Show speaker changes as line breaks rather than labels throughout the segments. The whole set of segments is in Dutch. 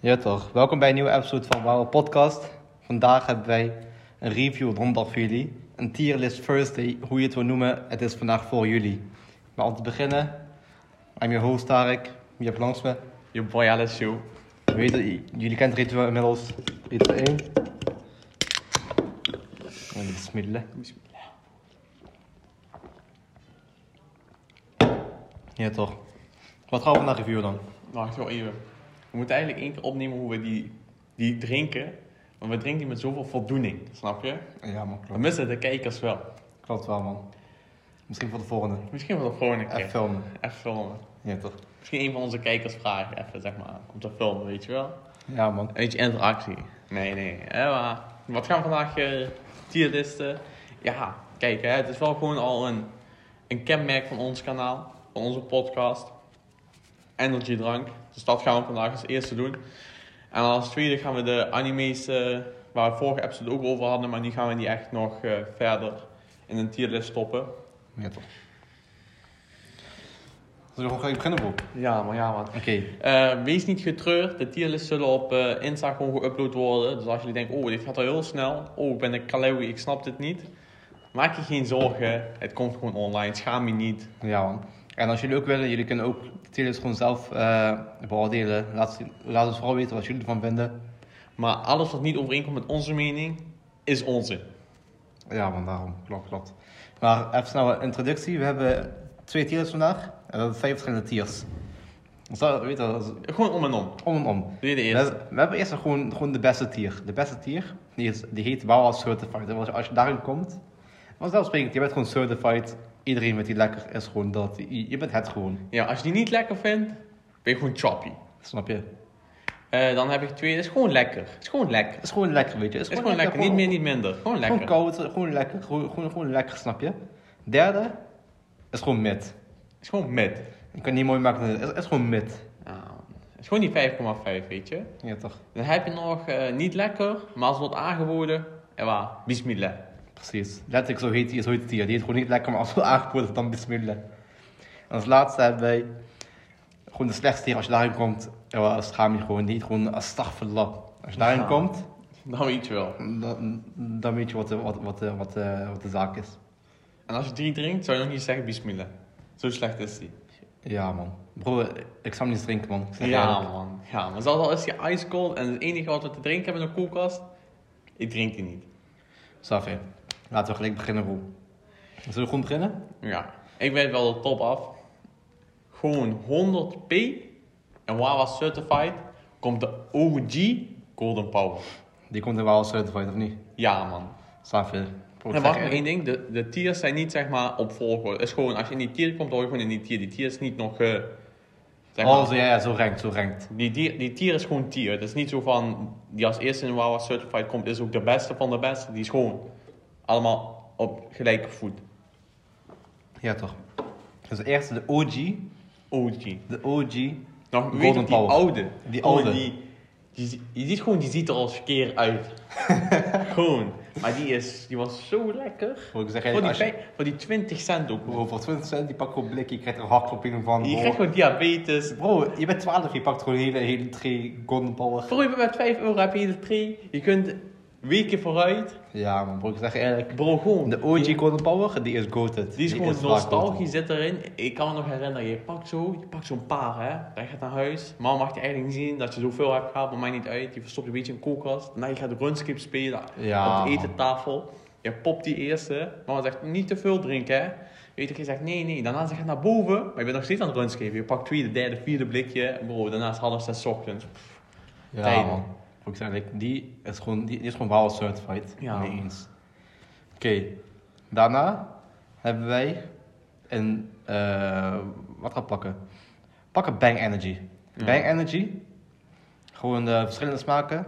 Ja toch, welkom bij een nieuwe episode van Wauwe Podcast. Vandaag hebben wij een review donderdag voor jullie. Een tierlist Thursday, hoe je het wil noemen. Het is vandaag voor jullie. Maar om te beginnen, I'm your host Tarek. Je hebt langs me.
Je boy Alice Show.
Je Weet het, j- jullie kent het ritueel inmiddels. Ritueel 1. En bismillah. Ja toch. Wat gaan we vandaag reviewen dan?
Wacht wel even. We moeten eigenlijk één keer opnemen hoe we die, die drinken. Want we drinken die met zoveel voldoening, snap je?
Ja man,
We missen de kijkers wel.
Klopt wel man. Misschien voor de volgende.
Misschien wel de volgende keer.
Even filmen.
Even filmen.
Ja toch.
Misschien een van onze kijkers vragen, even zeg maar, om te filmen, weet je wel?
Ja man.
Een beetje interactie. Nee, nee. Hè, maar wat gaan we vandaag eh, tierlisten? Ja, kijk, hè, het is wel gewoon al een, een kenmerk van ons kanaal, van onze podcast. Energy drank. Dus dat gaan we vandaag als eerste doen. En als tweede gaan we de anime's, eh, waar we vorige episode ook over hadden, maar die gaan we niet echt nog eh, verder in een tierlist stoppen.
Ja toch. Zullen we gewoon gelijk beginnen bro?
Ja, maar ja, man.
Oké.
Eh, wees niet getreurd, de tierlist zullen op eh, Insta gewoon geüpload worden. Dus als jullie denken, oh dit gaat al heel snel. Oh ik ben een kalewi, ik snap dit niet. Maak je geen zorgen, het komt gewoon online, schaam je niet.
Ja man. En als jullie ook willen, jullie kunnen ook de tiers gewoon zelf eh, beoordelen. Laat, laat ons vooral weten wat jullie ervan vinden.
Maar alles wat niet overeenkomt met onze mening, is onzin.
Ja man, daarom. Klopt, klopt. Maar even snel een introductie. We hebben twee tiers vandaag. En we hebben vijf verschillende tiers. Dus dat, weet je, dat is
Gewoon om en om.
om en om.
Doe je de
We
eerste.
hebben, we hebben eerst gewoon, gewoon de beste tier. De beste tier, die, is, die heet Wawa Certified. En als je, als je daarin komt, vanzelfsprekend, je bent gewoon certified. Iedereen met die lekker is gewoon dat. Je, je bent het gewoon,
Ja, als je die niet lekker vindt, ben je gewoon choppy.
snap je?
Eh, dan heb ik twee, het is gewoon lekker. Het is gewoon lekker.
Het is gewoon lekker, weet je. Het
Het is gewoon lekker, niet meer, niet minder. Gewoon
Gewoon
lekker.
koud, gewoon lekker, gewoon, gewoon, gewoon lekker, snap je? Derde is gewoon mid.
Het is gewoon met.
Ik kan het niet mooi maken, het is, het is gewoon mid.
het is gewoon die 5,5 weet je.
Ja toch,
Dan heb je nog eh, niet lekker, maar als het wordt aangeboden, en waar, bismillah.
precies. Letterlijk, zo heet die, zo heet die tier. Die heet gewoon niet lekker, maar als we aangeboden wordt, dan bismillah. En als laatste hebben wij gewoon de slechtste tier. Als je daarin komt, ja, schaam je gewoon niet. Gewoon astaghfirullah. Als je daarin
Ja.
komt,
Nou, weet je wel.
dan, dan weet je wat de, wat, wat, de- wat, de- wat de zaak is.
En als je drie drinkt, zou je nog niet zeggen bismillah. Zo slecht is die.
Ja man. Bro, ik zou hem niet eens drinken man. Ik zeg
Ja,
eerlijk.
man. Ja, maar zelfs al is die ice cold en het enige wat we te drinken hebben in de koelkast, ik drink die niet.
Safi, laten we gelijk beginnen, Roel. Zullen we gewoon beginnen?
Ja, ik weet wel de top af. Gewoon 100p en Wawa Certified komt de OG Golden Power.
Die komt er wel als certified, of niet?
Ja, man.
Safi.
En wacht maar één ding, de, de tiers zijn niet zeg maar op volgorde. Het is gewoon, als je in die tier komt, hoor je gewoon in die tier. Die tier is niet nog, eh, zeg maar,
Oh, zo, ja, ja, zo rankt, zo rankt.
die, tier, die tier is gewoon tier. Het is niet zo van, die als eerste in Wawa Certified komt, is ook de beste van de beste. Die is gewoon allemaal op gelijke voet.
Ja, toch. Dus de eerste, de OG.
OG.
De OG.
Nog weet
Golden
je, die
Power.
oude.
Die
Gewoon
oude.
Die, die zi- je ziet gewoon, die ziet er als verkeer uit. gewoon. Maar die, is, die was zo lekker.
Voor ik zeg
Voor
even,
die,
als je,
vij- voor die 20 cent ook.
bro, voor 20 cent, die pak gewoon blikje, je krijgt er een hartklopping van.
Je
bro.
krijgt gewoon diabetes.
Bro, je bent 12, je pakt gewoon hele, hele drie golden power.
Voor je bent met 5 euro heb je de tree. Je kunt weken vooruit.
Ja, man, bro, ik zeg eerlijk.
Bro, gewoon.
De OG golden power, die is goated.
Die is gewoon
vaak goated.
nostalgisch, zit erin. Ik kan me nog herinneren, je pakt zo, je pakt zo'n paar hè. Dan gaat naar huis. Mama mag je eigenlijk niet zien dat je zoveel hebt gehad, maar mij niet uit. Je verstopt je een beetje in de koelkast. Daarna je gaat runskip spelen
Ja,
op de
man.
etentafel. Je popt die eerste. Mama zegt niet te veel drinken hè. Je weet je zegt nee, nee. Daarna zeg je naar boven, maar je bent nog steeds aan het runskipen. Je pakt tweede, derde, vierde blikje. Bro, daarna is half zes 's ochtends.
Ja,
Tijden.
man. Ook zeg ik, die is gewoon, die, die is gewoon wel certified.
Ja,
Mee
man.
eens. Oké, daarna hebben wij een, eh, wat gaan we pakken? Pakken Bang Energy.
Ja.
Bang Energy, gewoon eh, verschillende smaken.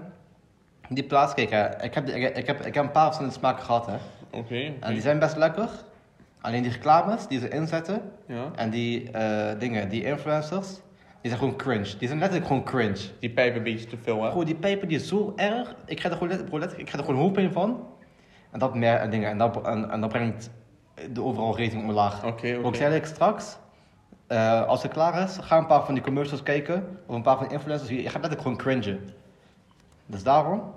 Die plaats, kijk hè, ik heb, die- ik, ik heb, ik heb een paar verschillende smaken gehad hè.
Oké. oké.
En die zijn best lekker. Alleen die reclames die ze inzetten
Ja.
en die eh, dingen, die influencers, die zijn gewoon cringe. Die zijn letterlijk gewoon cringe.
Die pijpen een beetje te veel, hè?
Bro, die pijpen die is zo erg. Ik krijg er gewoon, let- bro, letterlijk, ik krijg er gewoon hoofdpijn van. En dat meer en dingen. En dat, en, en dat brengt de overal rating omlaag.
Oké, oké.
Ook zei ik straks. eh, eh, als het klaar is, ga een paar van die commercials kijken. Of een paar van die influencers. Je je gaat letterlijk gewoon cringen. Dus daarom,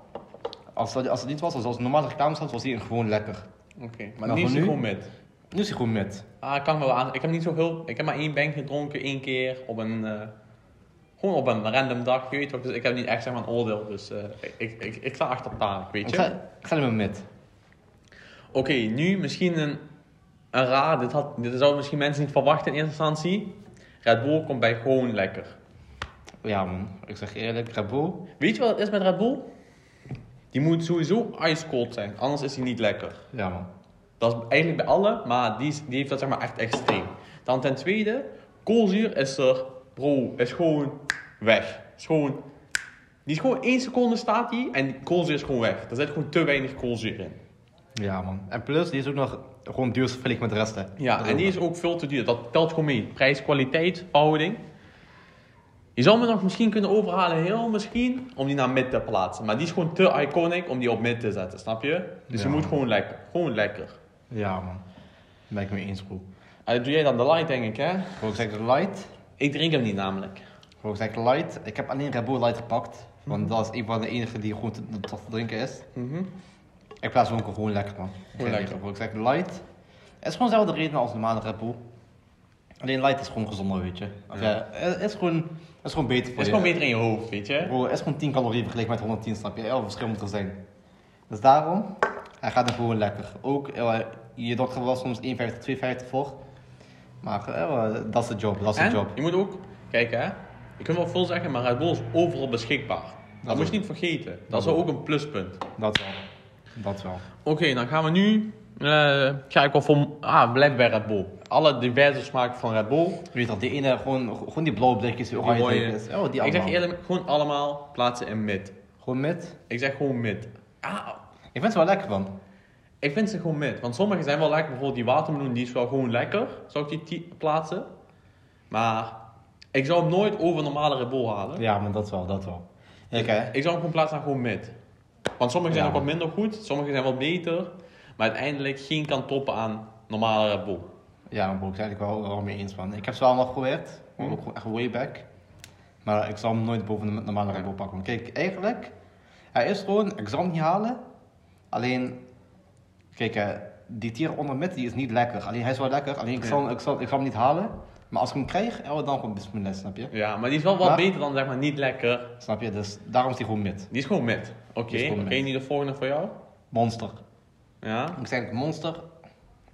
als dat, als het niet was, zoals normale reclames had, was die gewoon lekker.
Oké,
Maar
maar, nu
Nou, voor
is hij
nu?
gewoon met.
Nu is hij gewoon met.
Ah, ik kan wel aan. Ik heb niet zo heel. Ik heb maar één bank gedronken, één keer op een. eh, gewoon op een random dag, je weet toch? Dus ik heb niet echt zeg maar een oordeel. Dus eh, ik, ik, ik sta achter taak, weet
Ik
je.
ga,
Oké,
ik ga er maar met.
nu misschien een, een raar. Dit, had, dit zouden misschien mensen niet verwachten in eerste instantie. Red Bull komt bij gewoon lekker.
Ja man, ik zeg je eerlijk, Red Bull.
Weet je wat het is met Red Bull? Die moet sowieso ice cold zijn, anders is hij niet lekker.
Ja man.
Dat is eigenlijk bij alle, maar die, is- die heeft dat zeg maar echt extreem. Dan ten tweede, koolzuur is er, bro, is gewoon weg. Is gewoon, die is gewoon één seconde staat die en die koolzuur is gewoon weg. Er zit gewoon te weinig koolzuur in.
Ja man. En plus, die is ook nog gewoon duurst vergeleken met de rest. Hè.
Ja,
Dat
en die
ook
is ook veel te duur. Dat telt gewoon mee. Prijs, kwaliteit, verhouding. Je zou me nog misschien kunnen overhalen, heel misschien, om die naar mid te plaatsen. Maar die is gewoon te iconic om die op mid te zetten, snap je? Dus je
Ja.
moet gewoon lekker. Gewoon lekker.
nog. Ja man. Ben ik mee eens bro.
En doe jij dan de light, denk ik, hè?
Gewoon gezegd light.
Ik drink hem niet namelijk.
Gewoon gezegd light. Ik heb alleen Red Bull light gepakt. Want dat is een van de enige die gewoon te, tot te drinken is.
Mhm.
Ik plaats hem ook gewoon lekker man. Gewoon
lekker.
lekker. Gewoon gezegd light. Het is gewoon dezelfde reden als normale Red Bull. Alleen light is gewoon gezonder weet je. Of ja, het is gewoon, het is gewoon beter voor
Het is
je.
gewoon beter in je hoofd, weet je?
Bro, het is gewoon 10 calorieën vergeleken met 110, snap je? Heel verschil moet er zijn. Dus daarom, hij gaat er gewoon lekker. Ook, eh, je dokter was soms 1,50, 2,50 voor. Maar eh, dat is de job, dat is de
En
job.
je moet ook, kijk hè, je kunt wel veel zeggen, maar Red Bull is overal beschikbaar. Dat,
ook.
moet je niet vergeten. Dat is
ook.
ook een pluspunt.
Dat wel. Dat wel.
Oké, dan gaan we nu. eh, ga ik wel voor. Ah, blijf bij Red Bull. Alle diverse smaken van Red Bull.
Je weet toch, die ene, gewoon, gewoon die blauwe blikjes, die
Die
oranje
mooie.
blikjes. Oh, die
ik zeg
allemaal.
eerlijk, gewoon allemaal plaatsen in mid.
Gewoon met.
Ik zeg gewoon mid. Ah,
Ik vind ze wel lekker man.
ik vind ze gewoon mid. Want sommige zijn wel lekker. Bijvoorbeeld die watermeloen, die is wel gewoon lekker. Zou ik die ti- plaatsen. Maar ik zou hem nooit over een normale Red Bull halen.
Ja, maar dat wel, dat wel. Kijk hè.
Ik zou hem gewoon plaatsen aan gewoon mid. Want sommige zijn
Ja.
ook wat minder goed, sommige zijn wat beter. Maar uiteindelijk geen kan toppen aan normale Red Bull.
Ja, maar bro, ik ben het wel, wel mee eens man. Ik heb ze wel nog geprobeerd, maar ook gewoon echt way back. Maar ik zal hem nooit boven de normale Red Bull pakken. Want kijk, eigenlijk, hij is gewoon, ik zal hem niet halen. Alleen, kijk, hè, die tier onder mid, die is niet lekker. Alleen, hij is wel lekker, alleen ik zal, ik zal, ik zal hem niet halen. Maar als ik hem krijg, ja, dan gewoon bismillah, snap je?
Ja, maar die is wel wat
Maar-
beter dan zeg maar niet lekker.
Snap je? Dus daarom is hij gewoon mid.
Die is gewoon met. Oké,
Die is
oké,
gewoon met.
nu de volgende voor jou.
Monster.
Ja.
Ik zei eigenlijk monster.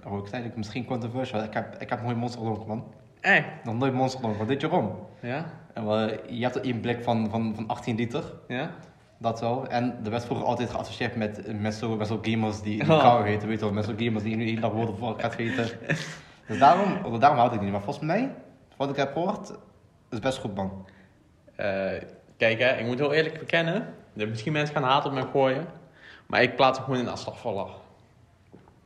Oh, ik zei eigenlijk misschien controversial. Ik heb, ik heb nooit monster gedronken, man.
Echt?
Nog nooit monster gedronken, wat deed je om?
Eh, Ja?
En we- je hebt er één blik van, van, van 18 liter,
Ja?
dat wel. En dat werd vroeger altijd geassocieerd met, eh, met zo'n met zo gamers die, die
Oh.
kou heten, weet je wel. Met zo'n gamers die nu één dag worden voor gaat eten. Dus daarom, daarom houd ik het niet. Maar volgens mij, wat ik heb gehoord, is best goed man.
Eh, kijk hè, ik moet heel eerlijk bekennen. dat Misschien mensen gaan haat op mij gooien. Maar ik plaats hem gewoon in Astagfallah.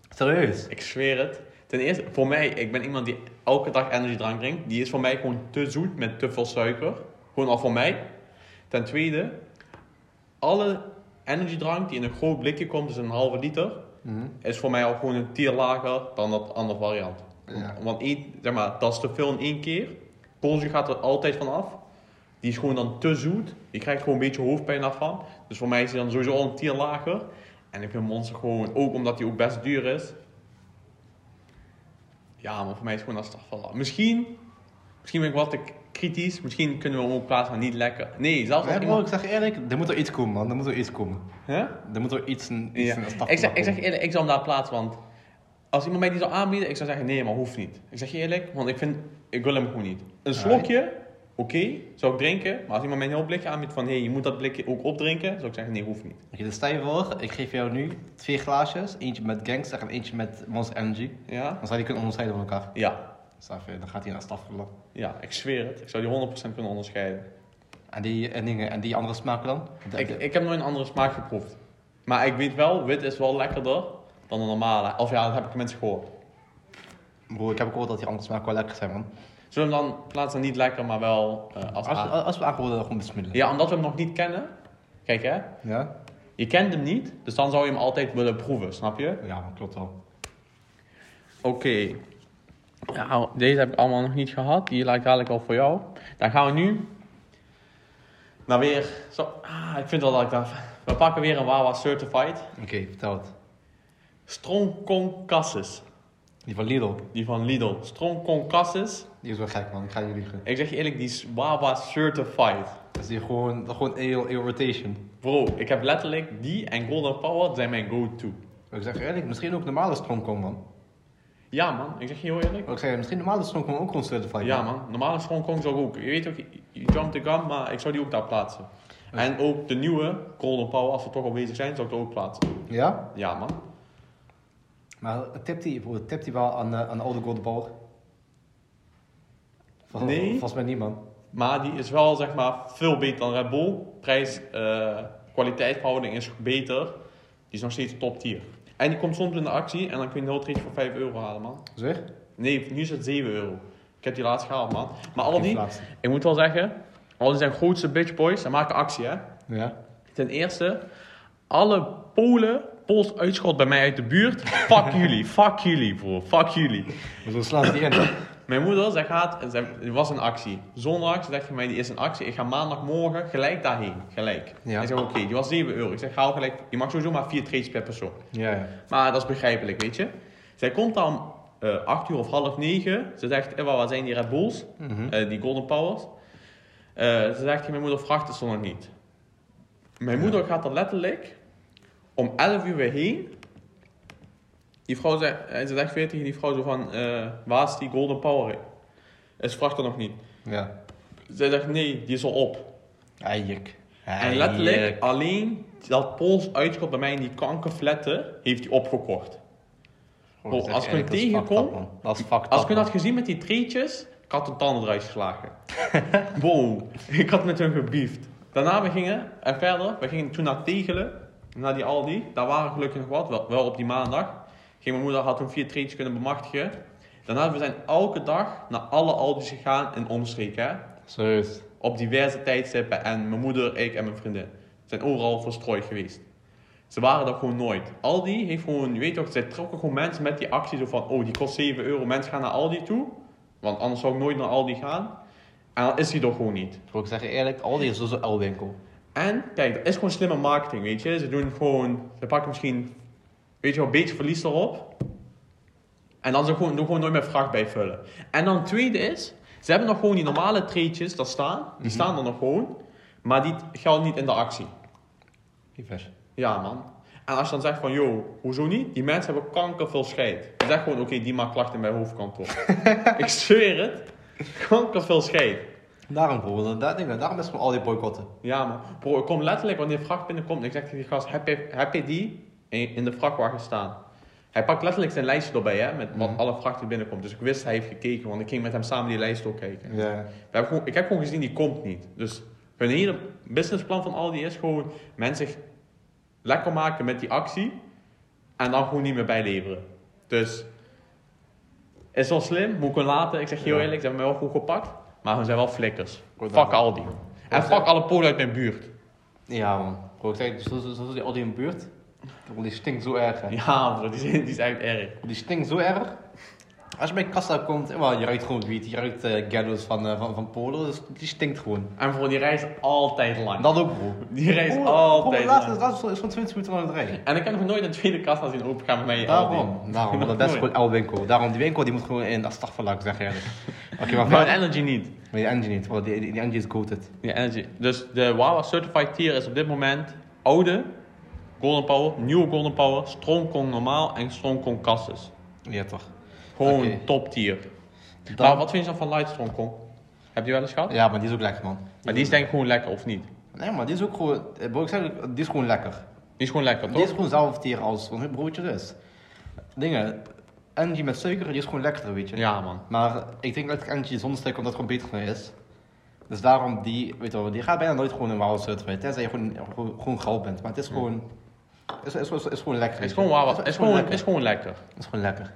Serieus?
Ik zweer het. Ten eerste, voor mij, ik ben iemand die elke dag energiedrank drinkt. Die is voor mij gewoon te zoet met te veel suiker. Gewoon al voor mij. Ten tweede, alle energiedrank die in een groot blikje komt, dus een halve liter,
Mhm.
is voor mij al gewoon een tier lager dan dat andere variant.
Ja.
Want één, zeg maar, dat is te veel in één keer. Koolzuur gaat er altijd van af. Die is gewoon dan te zoet. Je krijgt gewoon een beetje hoofdpijn daarvan. Dus voor mij is die dan sowieso al een tier lager. En ik vind Monster gewoon, ook omdat die ook best duur is. Ja, maar voor mij is het gewoon Astagfallah. Misschien, misschien ben ik wat te k- kritisch. Misschien kunnen we hem ook plaatsen, maar niet lekker. Nee, zelfs
Nee,
als
bro,
iemand...
ik zeg je eerlijk, er moet er iets komen man, er moet er iets komen.
Hè?
Er moet er iets in, iets
Ja.
in de stad
Ik, zeg, ik
komen.
zeg eerlijk, ik zou hem daar plaatsen, want als iemand mij die zou aanbieden, ik zou zeggen nee, maar hoeft niet. Ik zeg je eerlijk, want ik vind, ik wil hem gewoon niet. Een slokje, oké, zou ik drinken, maar als iemand mij een heel blikje aanbiedt van hé, hey, je moet dat blikje ook opdrinken, zou ik zeggen nee, hoeft niet.
Oké, dus stel je voor, ik geef jou nu twee glaasjes, eentje met gangster en eentje met Monster Energy.
Ja?
Dan zou je kunnen onderscheiden van elkaar.
Ja,
Snap je? Dan gaat hij naar Staffelen.
ja, ik zweer het. Ik zou die 100% kunnen onderscheiden.
En die, en dingen, en die andere smaken dan? De-
Ik,
de-
ik heb nooit een andere smaak geproefd. Maar ik weet wel, wit is wel lekkerder dan de normale. Of ja, dat heb ik mensen gehoord.
Bro, ik heb ook gehoord dat die andere smaken wel lekker zijn, man.
Zullen we hem dan plaatsen niet lekker, maar wel eh, als,
Als, als,
A?
we aangeboden gewoon besmiddelen.
Ja, omdat we hem nog niet kennen. Kijk hè,
Ja?
Je kent hem niet, dus dan zou je hem altijd willen proeven, snap je?
Ja, man, klopt wel.
Oké. Nou, deze heb ik allemaal nog niet gehad. Die laat ik dadelijk al voor jou. Dan gaan we nu naar weer. Zo, ah, ik vind wel dat ik dat. We pakken weer een Wawa Certified.
Oké, vertel het.
Stroomconcassus.
Die van Lidl.
Die van Lidl. Stroomconcassus.
Die is wel gek, man. Ik ga je liegen.
Ik zeg je eerlijk, die is Wawa Certified.
Dat is die gewoon, gewoon ale, ale rotation.
Bro, ik heb letterlijk die en Golden Power zijn mijn go-to.
Ik zeg je eerlijk, misschien ook normale stroomkom, man.
Ja man, ik zeg je heel eerlijk.
Ik zeg, misschien normale stroomkom ook gewoon certified.
Ja man, normaal is Hongkong zo ook. Je weet ook, je jump the gun, maar ik zou die ook daar plaatsen. En ook de nieuwe Golden Power, als we toch al bezig zijn, zou ik er ook plaatsen.
Ja?
Ja man.
Maar tipt die, broer, tipt die wel aan, eh, aan de oude Golden Power? Vol-
Nee.
Volgens mij niet, man.
Maar die is wel zeg maar veel beter dan Red Bull. Prijs, eh kwaliteitverhouding is beter. Die is nog steeds top tier. En die komt soms in de actie en dan kun je een trade voor 5 euro halen man.
Zeg?
Nee, nu is het 7 euro. Ik heb die laatst gehaald man. Maar al die,
Inflatie.
ik moet wel zeggen, al die zijn grootste bitch boys, ze maken actie hè.
Ja.
Ten eerste, alle Polen, Pools uitschot bij mij uit de buurt. Fuck jullie, fuck jullie bro, fuck jullie.
Maar zo slaan ze die in.
Mijn moeder, zij gaat, en zij- er was een actie. Zondag, ze dacht van mij, die is een actie. Ik ga maandagmorgen gelijk daarheen, gelijk.
Ja.
Ik zeg, oké, die was 7 euro. Ik zeg, haal gelijk, je mag sowieso maar vier trades per persoon.
Ja, ja.
Maar dat is begrijpelijk, weet je. Zij komt dan eh 8 uur of half 9. Ze zegt, eh, wat zijn die Red Bulls?
Mhm.
Eh, die Golden Powers. Eh, ze zegt tegen mijn moeder, vraagt het zo nog niet. Mijn moeder gaat er letterlijk om 11 uur weer heen. Die vrouw zei, eh, ze zegt weer tegen die vrouw zo van, eh, waar is die Golden Power? En ze vraagt er nog niet.
Ja.
Zij zegt, nee, die is al op.
Eierik.
En letterlijk alleen dat Pools uitschot bij mij in die kankerfletten heeft hij opgekocht. Bro, Oh, als ik hem tegenkom-
Dat is fucked
Als
up,
ik hun
man.
had gezien met die treetjes, ik had de tanden eruit geslagen. wow, ik had met hun gebiefd. Daarna we gingen, en verder, we gingen toen naar Tegelen, naar die Aldi. Daar waren gelukkig nog wat, wel, wel op die maandag. Ging mijn moeder had toen vier treetjes kunnen bemachtigen. Daarna we zijn elke dag naar alle Aldi's gegaan in omstreken. hè.
Serieus.
Op diverse tijdstippen en mijn moeder, ik en mijn vriendin zijn overal verstrooid geweest. Ze waren er gewoon nooit. Aldi heeft gewoon, je weet toch, zij trokken gewoon mensen met die actie zo van, oh die kost 7 euro, mensen gaan naar Aldi toe. Want anders zou ik nooit naar Aldi gaan. En dan is die er gewoon niet.
Bro, ik zeg je eerlijk, Aldi is dus een L-winkel.
En kijk, dat is gewoon slimme marketing, weet je. Ze doen gewoon, ze pakken misschien, weet je wel, een beetje verlies erop. En dan ze gewoon, doen gewoon nooit meer vracht bij vullen. En dan het tweede is, ze hebben nog gewoon die normale treetjes daar staan. Die staan er nog gewoon. Maar die gelden niet in de actie.
Divers.
Ja, man. En als je dan zegt van, yo, hoezo niet? Die mensen hebben kanker veel scheid. Je zegt gewoon, oké, die maakt klachten bij hoofdkantoor. ik zweer het. Kanker veel scheid.
Daarom, bro, dat, dat, ding, daarom is gewoon Aldi boycotten.
Ja, man. Bro, ik kom letterlijk, wanneer de vracht binnenkomt, en ik zeg tegen die gast, heb je, heb je die in, in de vrachtwagen staan? Hij pakt letterlijk zijn lijstje erbij, hè, met wat alle vracht die binnenkomt. Dus ik wist, hij heeft gekeken, want ik ging met hem samen die lijst ook kijken.
Ja.
We hebben gewoon, ik heb gewoon gezien, die komt niet. Dus hun hele businessplan van Aldi is gewoon mensen lekker maken met die actie en dan gewoon niet meer bijleveren. Dus is wel slim, moet ik hun laten. Ik zeg heel
Ja.
eerlijk, ze hebben mij wel goed gepakt, maar hun zijn wel flikkers.
Goed,
fuck
dan.
Aldi. En
Goed, dan.
fuck alle Polen uit mijn buurt.
Ja, man. Bro, ik zeg, zo, zo, zo die Aldi in de buurt, bro, die stinkt zo erg, hè.
Ja, bro, die zijn, die zijn echt erg.
Die stinkt zo erg. Als je bij kassa komt, eh, wel, je ruikt gewoon wiet, je ruikt eh ghettos van, eh, van, van Polen, dus die stinkt gewoon.
En voor die reis altijd lang.
En dat ook, bro.
Die reis
Bro,
altijd
bro, laatst,
lang.
laatst is van 20 minuten aan het rijden.
En ik heb nog nooit een tweede kassa zien opengaan met mij in Aldi.
Daarom, daarom, want dat is gewoon L-winkel. Daarom, die winkel die moet gewoon in, astagfirullah, ik zeg je eerlijk. Oké, maar
Maar
verder.
een Energy niet.
Maar die Angie niet, want die, die, die Angie is goated.
Ja, energy. Dus de Wawa Certified Tier is op dit moment oude Golden Power, nieuwe Golden Power, Stroomkong normaal en Stroomkong Cassis.
Ja, toch.
Gewoon
Oké.
top tier.
Dan-
Maar wat vind je dan van Light Stroomkong? Heb je wel eens gehad?
Ja, maar die is ook lekker, man.
Maar die is denk ik gewoon lekker of niet? Die
Nee, maar die is ook gewoon... eh, Bro, ik zeg, het, die is gewoon lekker.
is gewoon lekker
Die is
toch?
gewoon zelf tier als van hun broodje dus. Dingen, Angie met suiker, die is gewoon lekkerder, weet je.
Ja man.
Maar ik denk dat Angie zonder suiker, omdat het gewoon beter voor je is. Dus daarom, die, weet je wel, die gaat bijna nooit gewoon een wauw certified. Tenzij je gewoon, gewoon, gewoon goud bent. Maar het is gewoon... Het is, is, is, is gewoon lekker.
Het is
weet
gewoon
je.
Wawa, het is gewoon,
lekker.
is gewoon lekker.
Het is gewoon lekker.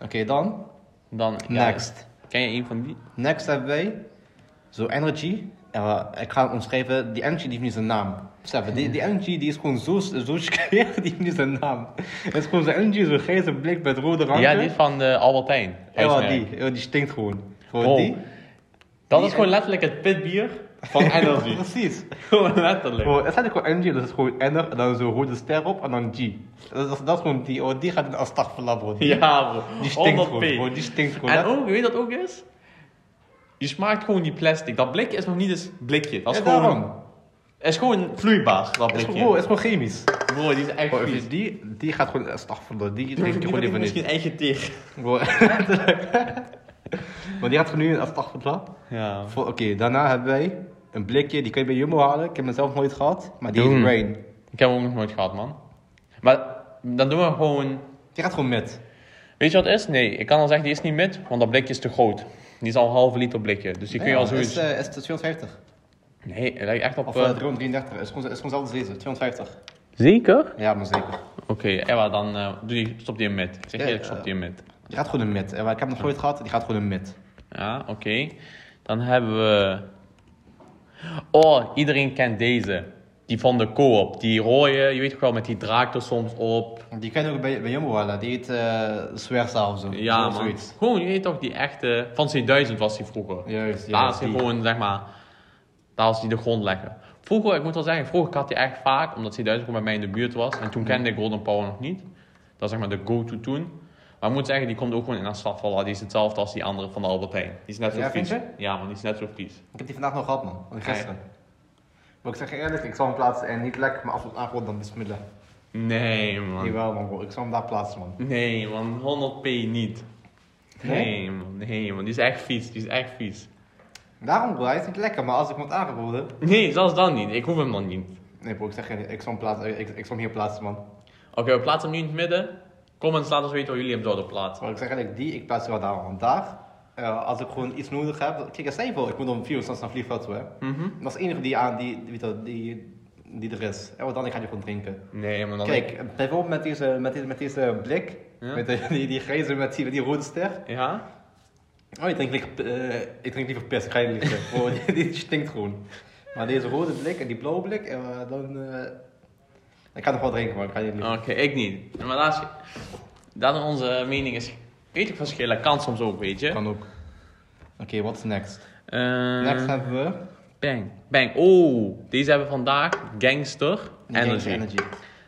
Oké, dan...
Dan, ja,
Next.
Ken je een van die?
Next hebben wij... Zo Energy En we- ik ga omschrijven, die Angie die heeft niet zijn naam. Seven, die, die Angie die is gewoon zo, zo skeer, die heeft niet zijn naam. Het is gewoon zijn Angie, zo'n grijze blik met rode randje.
Ja, die is van eh, de Albertijn.
dus? Ja, die, ja, die stinkt gewoon. Gewoon
Wow.
die.
Dat
Die
is gewoon letterlijk het pitbier van Energy.
Precies.
gewoon letterlijk.
Gewoon, het staat ook gewoon NG, dat is gewoon N en dan zo'n rode ster op en dan G. Dat is, dat is gewoon die, oh, die gaat in de Astagfirullah, bro. Die,
Ja, bro.
die stinkt
100p.
gewoon, bro, Die stinkt gewoon.
En
Dat-
ook, weet je wat ook is? Je smaakt gewoon die plastic. Dat blikje is nog niet eens blikje. Dat is
Ja,
gewoon...
daarom.
Het is gewoon vloeibaar, dat
Het is,
blikje.
gewoon, het is Oh, gewoon chemisch.
Bro, die is echt
Bro,
vies.
die, die gaat gewoon in Astagfirullah, die
Ik
drinkt gewoon niet meer niet.
misschien eigen teer.
Bro, Maar die gaat gewoon nu in Astagfirullah.
Ja.
Voor- Oké, daarna hebben wij een blikje, die kun je bij Jumbo halen. Ik heb hem zelf nooit gehad, maar die
Doen.
heeft Rain.
Ik heb hem ook nog nooit gehad, man. Maar dan doen we gewoon...
Die gaat gewoon met.
Weet je wat het is? Nee, ik kan al zeggen, die is niet met, want dat blikje is te groot. Die is al een halve liter blikje, dus die kun je al
Het is,
zoiets...
eh, is het 250.
Nee, het lijkt echt op...
Of
eh,
eh, 333. Het is gewoon, het is gewoon hetzelfde als deze, 250.
Zeker?
Ja, maar zeker.
Oké, Ewa, dan eh, doe die, stop die in mid. Ik zeg
Ja,
eerlijk,
eh,
stop die in mid.
Die gaat gewoon een mid. Eh, maar Ik heb hem nog nooit gehad, die gaat gewoon een mid.
Ja, oké. Dan hebben we... Oh, iedereen kent deze. Die van de co-op. Die rode, je weet toch wel, met die draak er soms op.
Die kan je ook bij, bij Jumbo halen, die heet eh Zwerzaal of zo.
Ja,
Of
man. Gewoon, je weet toch, die echte... Van C1000 was die vroeger.
Juist,
Daar
juist.
is hij
die.
gewoon, zeg maar, daar is hij de grond leggen. Vroeger, ik moet wel zeggen, vroeger had hij echt vaak, omdat hij duizend bij mij in de buurt was. En toen kende ik Golden Power nog niet. Dat is zeg maar de go-to toen. Maar ik moet zeggen, die komt ook gewoon in een stadvallen. Die is hetzelfde als die andere van de Albert Heijn. Die is net zo
Ja, vind
vies.
je?
Ja, man, die is net zo vies.
Ik heb die vandaag nog gehad, man. Van gisteren. Maar ik zeg je eerlijk, ik zal hem plaatsen en niet lekker, maar als het aankomt dan besmiddelen.
Nee, man.
Jawel, man, bro. Ik zal hem daar plaatsen, man.
Nee, man, 100p niet.
Nee?
Nee, man, nee, man. Die is echt vies. Die is echt vies.
Daarom, bro, hij is niet lekker, maar als ik hem had aangeboden.
Nee, zelfs dan niet. Ik hoef hem dan niet.
Nee, bro, ik zeg je eerlijk, ik zal hem, plaatsen, ik, ik zal hem hier plaatsen, man.
Oké, we plaatsen hem nu in het midden. Comments laten ons weten waar jullie hem zouden plaatsen.
Maar ik zeg eigenlijk, die, ik plaats die wel daar, want daar, eh, als ik gewoon iets nodig heb. Kijk, als voor, ik moet om 4 uur s'nachts naar vliegveld toe, hè.
Mhm.
Dat is de enige die, aan, die, die, die, die, die er is. En want dan ga je gewoon drinken.
Nee, man, dan
Kijk, bijvoorbeeld met deze, met deze, met deze blik,
Ja.
met die, die, die grijze met die, met die rode ster.
Ja?
Oh, ik drink liever, eh, ik drink liever pis, ik ga je niet liegen. Oh, die, die stinkt gewoon. Maar deze rode blik en die blauwe blik, en eh, dan... eh, ik ga nog wel drinken, maar ik ga niet
Oké,
liegen.
ik niet. Maar daar is, dat is onze mening is, weet ik verschillen, kan soms ook, weet je.
Kan ook. Oké, what's next?
Eh,
Next hebben we...
Bang, bang. Oh, deze hebben we vandaag Gangster Energy.
Gangsta Energy.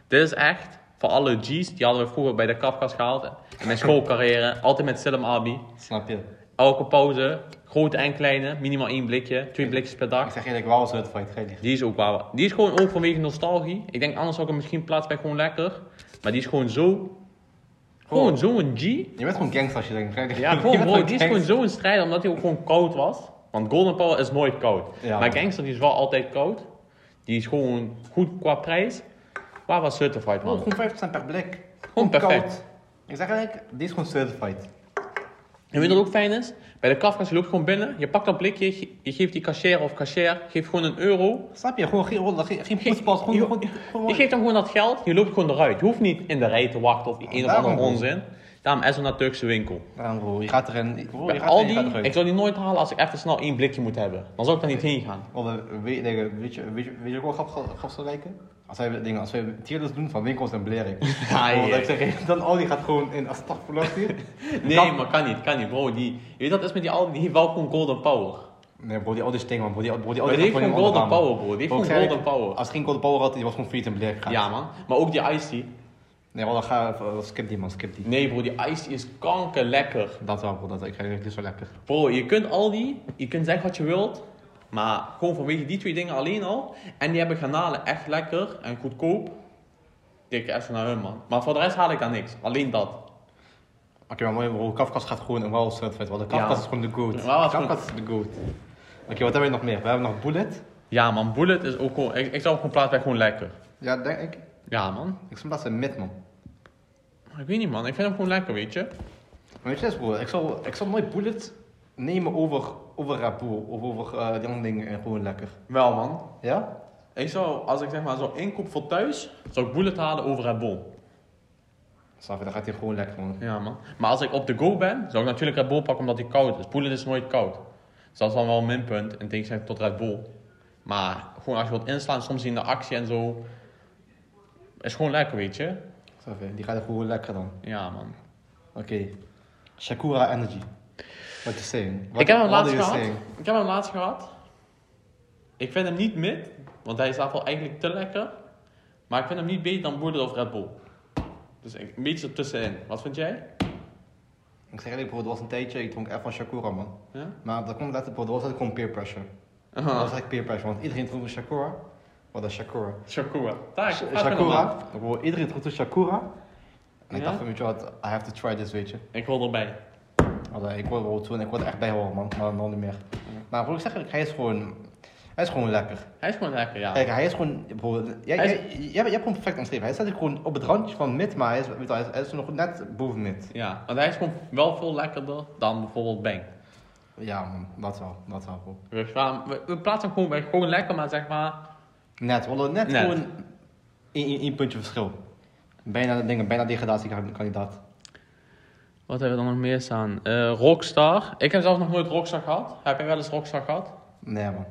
Dit is echt voor alle G's, die hadden we vroeger bij de kafkas gehaald. In mijn schoolcarrière, altijd met Silem Abi.
Snap je?
Elke pauze, grote en kleine, minimaal één blikje, twee blikjes per
Ik
dag.
zeg eerlijk, wauw, zo'n fight, ga je liegen.
Die is ook waar. Die is gewoon ook vanwege nostalgie. Ik denk anders had ik hem misschien plaatsen bij gewoon lekker. Maar die is gewoon zo. Gewoon
Oh.
zo'n G.
Je bent gewoon gangster als je denkt. ga je liegen.
Ja,
Je
gewoon,
bent
bro, die is gewoon
gangster.
zo'n strijder omdat hij ook gewoon koud was. Want Golden Power is nooit koud.
Ja.
maar Gangster die is wel altijd koud. Die is gewoon goed qua prijs. Waar was Certified,
Oh,
man?
gewoon 50 per blik.
Gewoon perfect.
koud. Ik zeg eigenlijk, die is gewoon certified.
En weet je wat ook fijn is? Bij de Kafka's, je loopt gewoon binnen, je pakt dat blikje, ge- je geeft die cashier of cashier, geeft gewoon een euro.
Snap je? Gewoon geen roddel, geen, geen poespas, gewoon, gewoon, gewoon-
Je geeft hem gewoon dat geld, je loopt gewoon eruit. Je hoeft niet in de rij te wachten op een of
Daarom,
andere
bro.
onzin. Daarom is er naar Turkse winkel.
Ja, bro, je gaat erin. Ik- Bro, je
Bij
gaat erin, je
Aldi,
gaat eruit.
ik zou die nooit halen als ik even snel één blikje moet hebben. Dan zou ik daar niet heen gaan.
Oh, we- weet, nee, weet, je, weet, je, weet je ook wel grappig grappig zou lijken? Als wij, dingen, als wij tierlist doen van winkels en blering.
Ja,
Oh,
Ah, ja.
dat ik zeg, dan Aldi gaat gewoon in Astagfirullah.
Nee,
Dat-
maar kan niet, kan niet, bro. Die, je weet dat is met die Aldi, die heeft wel gewoon golden power.
Nee bro, die Aldi stinkt man. Bro, die, bro, die
Maar
Aldi
die heeft
gaat
gewoon
in
golden
ondergaan, man.
power, bro. Die heeft
Bro, ik
gewoon
zeg,
golden power.
Als hij geen golden power had, die was gewoon failliet in blering gegaan.
Ja, man. Maar ook die iced tea.
Nee bro, dan ga, eh, skip die man, skip die.
Nee, bro, die iced tea is kanker lekker.
Dat wel bro, dat, ik ga die is wel lekker.
Bro, je kunt Aldi, je kunt zeggen wat je wilt. Maar gewoon vanwege die twee dingen alleen al. En die hebben granalen echt lekker en goedkoop. Dikke even naar hun, man. Maar voor de rest haal ik daar niks. Alleen dat.
Oké, maar mooi bro, Kafkas gaat gewoon een wow certified worden. Kafkas
Ja.
is gewoon de goat.
Wauw is
Kafkas is de goat. Oké, wat hebben we nog meer? We hebben nog Bullet.
Ja, man, Bullet is ook gewoon. Ik, ik zou hem gewoon plaatsen bij gewoon lekker.
Ja, denk ik.
Ja, man.
Ik zou plaatsen mid man.
Maar Ik weet niet, man. Ik vind hem gewoon lekker, weet je.
Maar weet je eens, broer, ik zal, ik zal nooit Bullet nemen over, over Red Bull of over eh, die andere dingen en gewoon lekker.
Wel, man.
Ja?
Ik zou, als ik zeg maar zo inkoop voor thuis, zou ik bullet halen over Red Bull.
Snap je, dan gaat hij gewoon lekker, man.
Ja man. Maar als ik op de go ben, zou ik natuurlijk Red Bull pakken omdat die koud is. Bullet is nooit koud. Dus dat is dan wel een minpunt en tegenstelling tot Red Bull. Maar gewoon als je wilt inslaan, soms in de actie en zo. Is gewoon lekker, weet je.
Oké, Die gaat er gewoon lekker dan.
Ja, man.
Oké. Shakura Energy. What you saying? What-
ik heb hem
what
laatst
are you
gehad.
saying?
Ik heb hem laatst gehad. Ik vind hem niet mid, want hij staat wel eigenlijk te lekker. Maar ik vind hem niet beter dan Boerder of Red Bull. Dus ik- een beetje ertussenin. Wat vind jij?
Ik zeg eerlijk, bro, er was een tijdje, ik dronk echt van Shakura, man.
Ja?
Maar dat komt letterlijk, bro, dat was echt gewoon peer pressure. Dat was echt peer pressure, want iedereen dronk een Shakura. Wat een Shakura.
Shakura. Daar,
Sh-
daar vind ik hem aan.
Shakura. Bro, iedereen dronk een Shakura. En ik
Ja?
dacht van, weet je wat, I have to try this, weet je.
Ik wil erbij.
Want, eh, ik word wel toen, ik word er echt bij horen, man. Maar nog niet meer. Maar bro, ik zeg eerlijk, hij is gewoon, hij is gewoon lekker.
Hij is gewoon lekker, ja.
Kijk, hij is gewoon. Bro, jij,
Hij is-
jij, jij, jij hebt hem perfect omschreven. Hij staat gewoon op het randje van mid, maar hij is, weet je wel, hij is, hij is nog net boven mid.
Ja, want hij is gewoon wel veel lekkerder dan bijvoorbeeld Bang.
Ja, man, dat wel. Dat wel, bro.
We, gaan- we, we plaatsen hem gewoon, bij- gewoon lekker, maar zeg maar...
Net, we hadden net,
Net.
gewoon één- één één puntje verschil. Bijna, dingen, bijna degradatiekandidaat.
Wat hebben we dan nog meer staan? Eh, Rockstar. Ik heb zelf nog nooit Rockstar gehad. Heb jij wel eens Rockstar gehad?
Nee, man.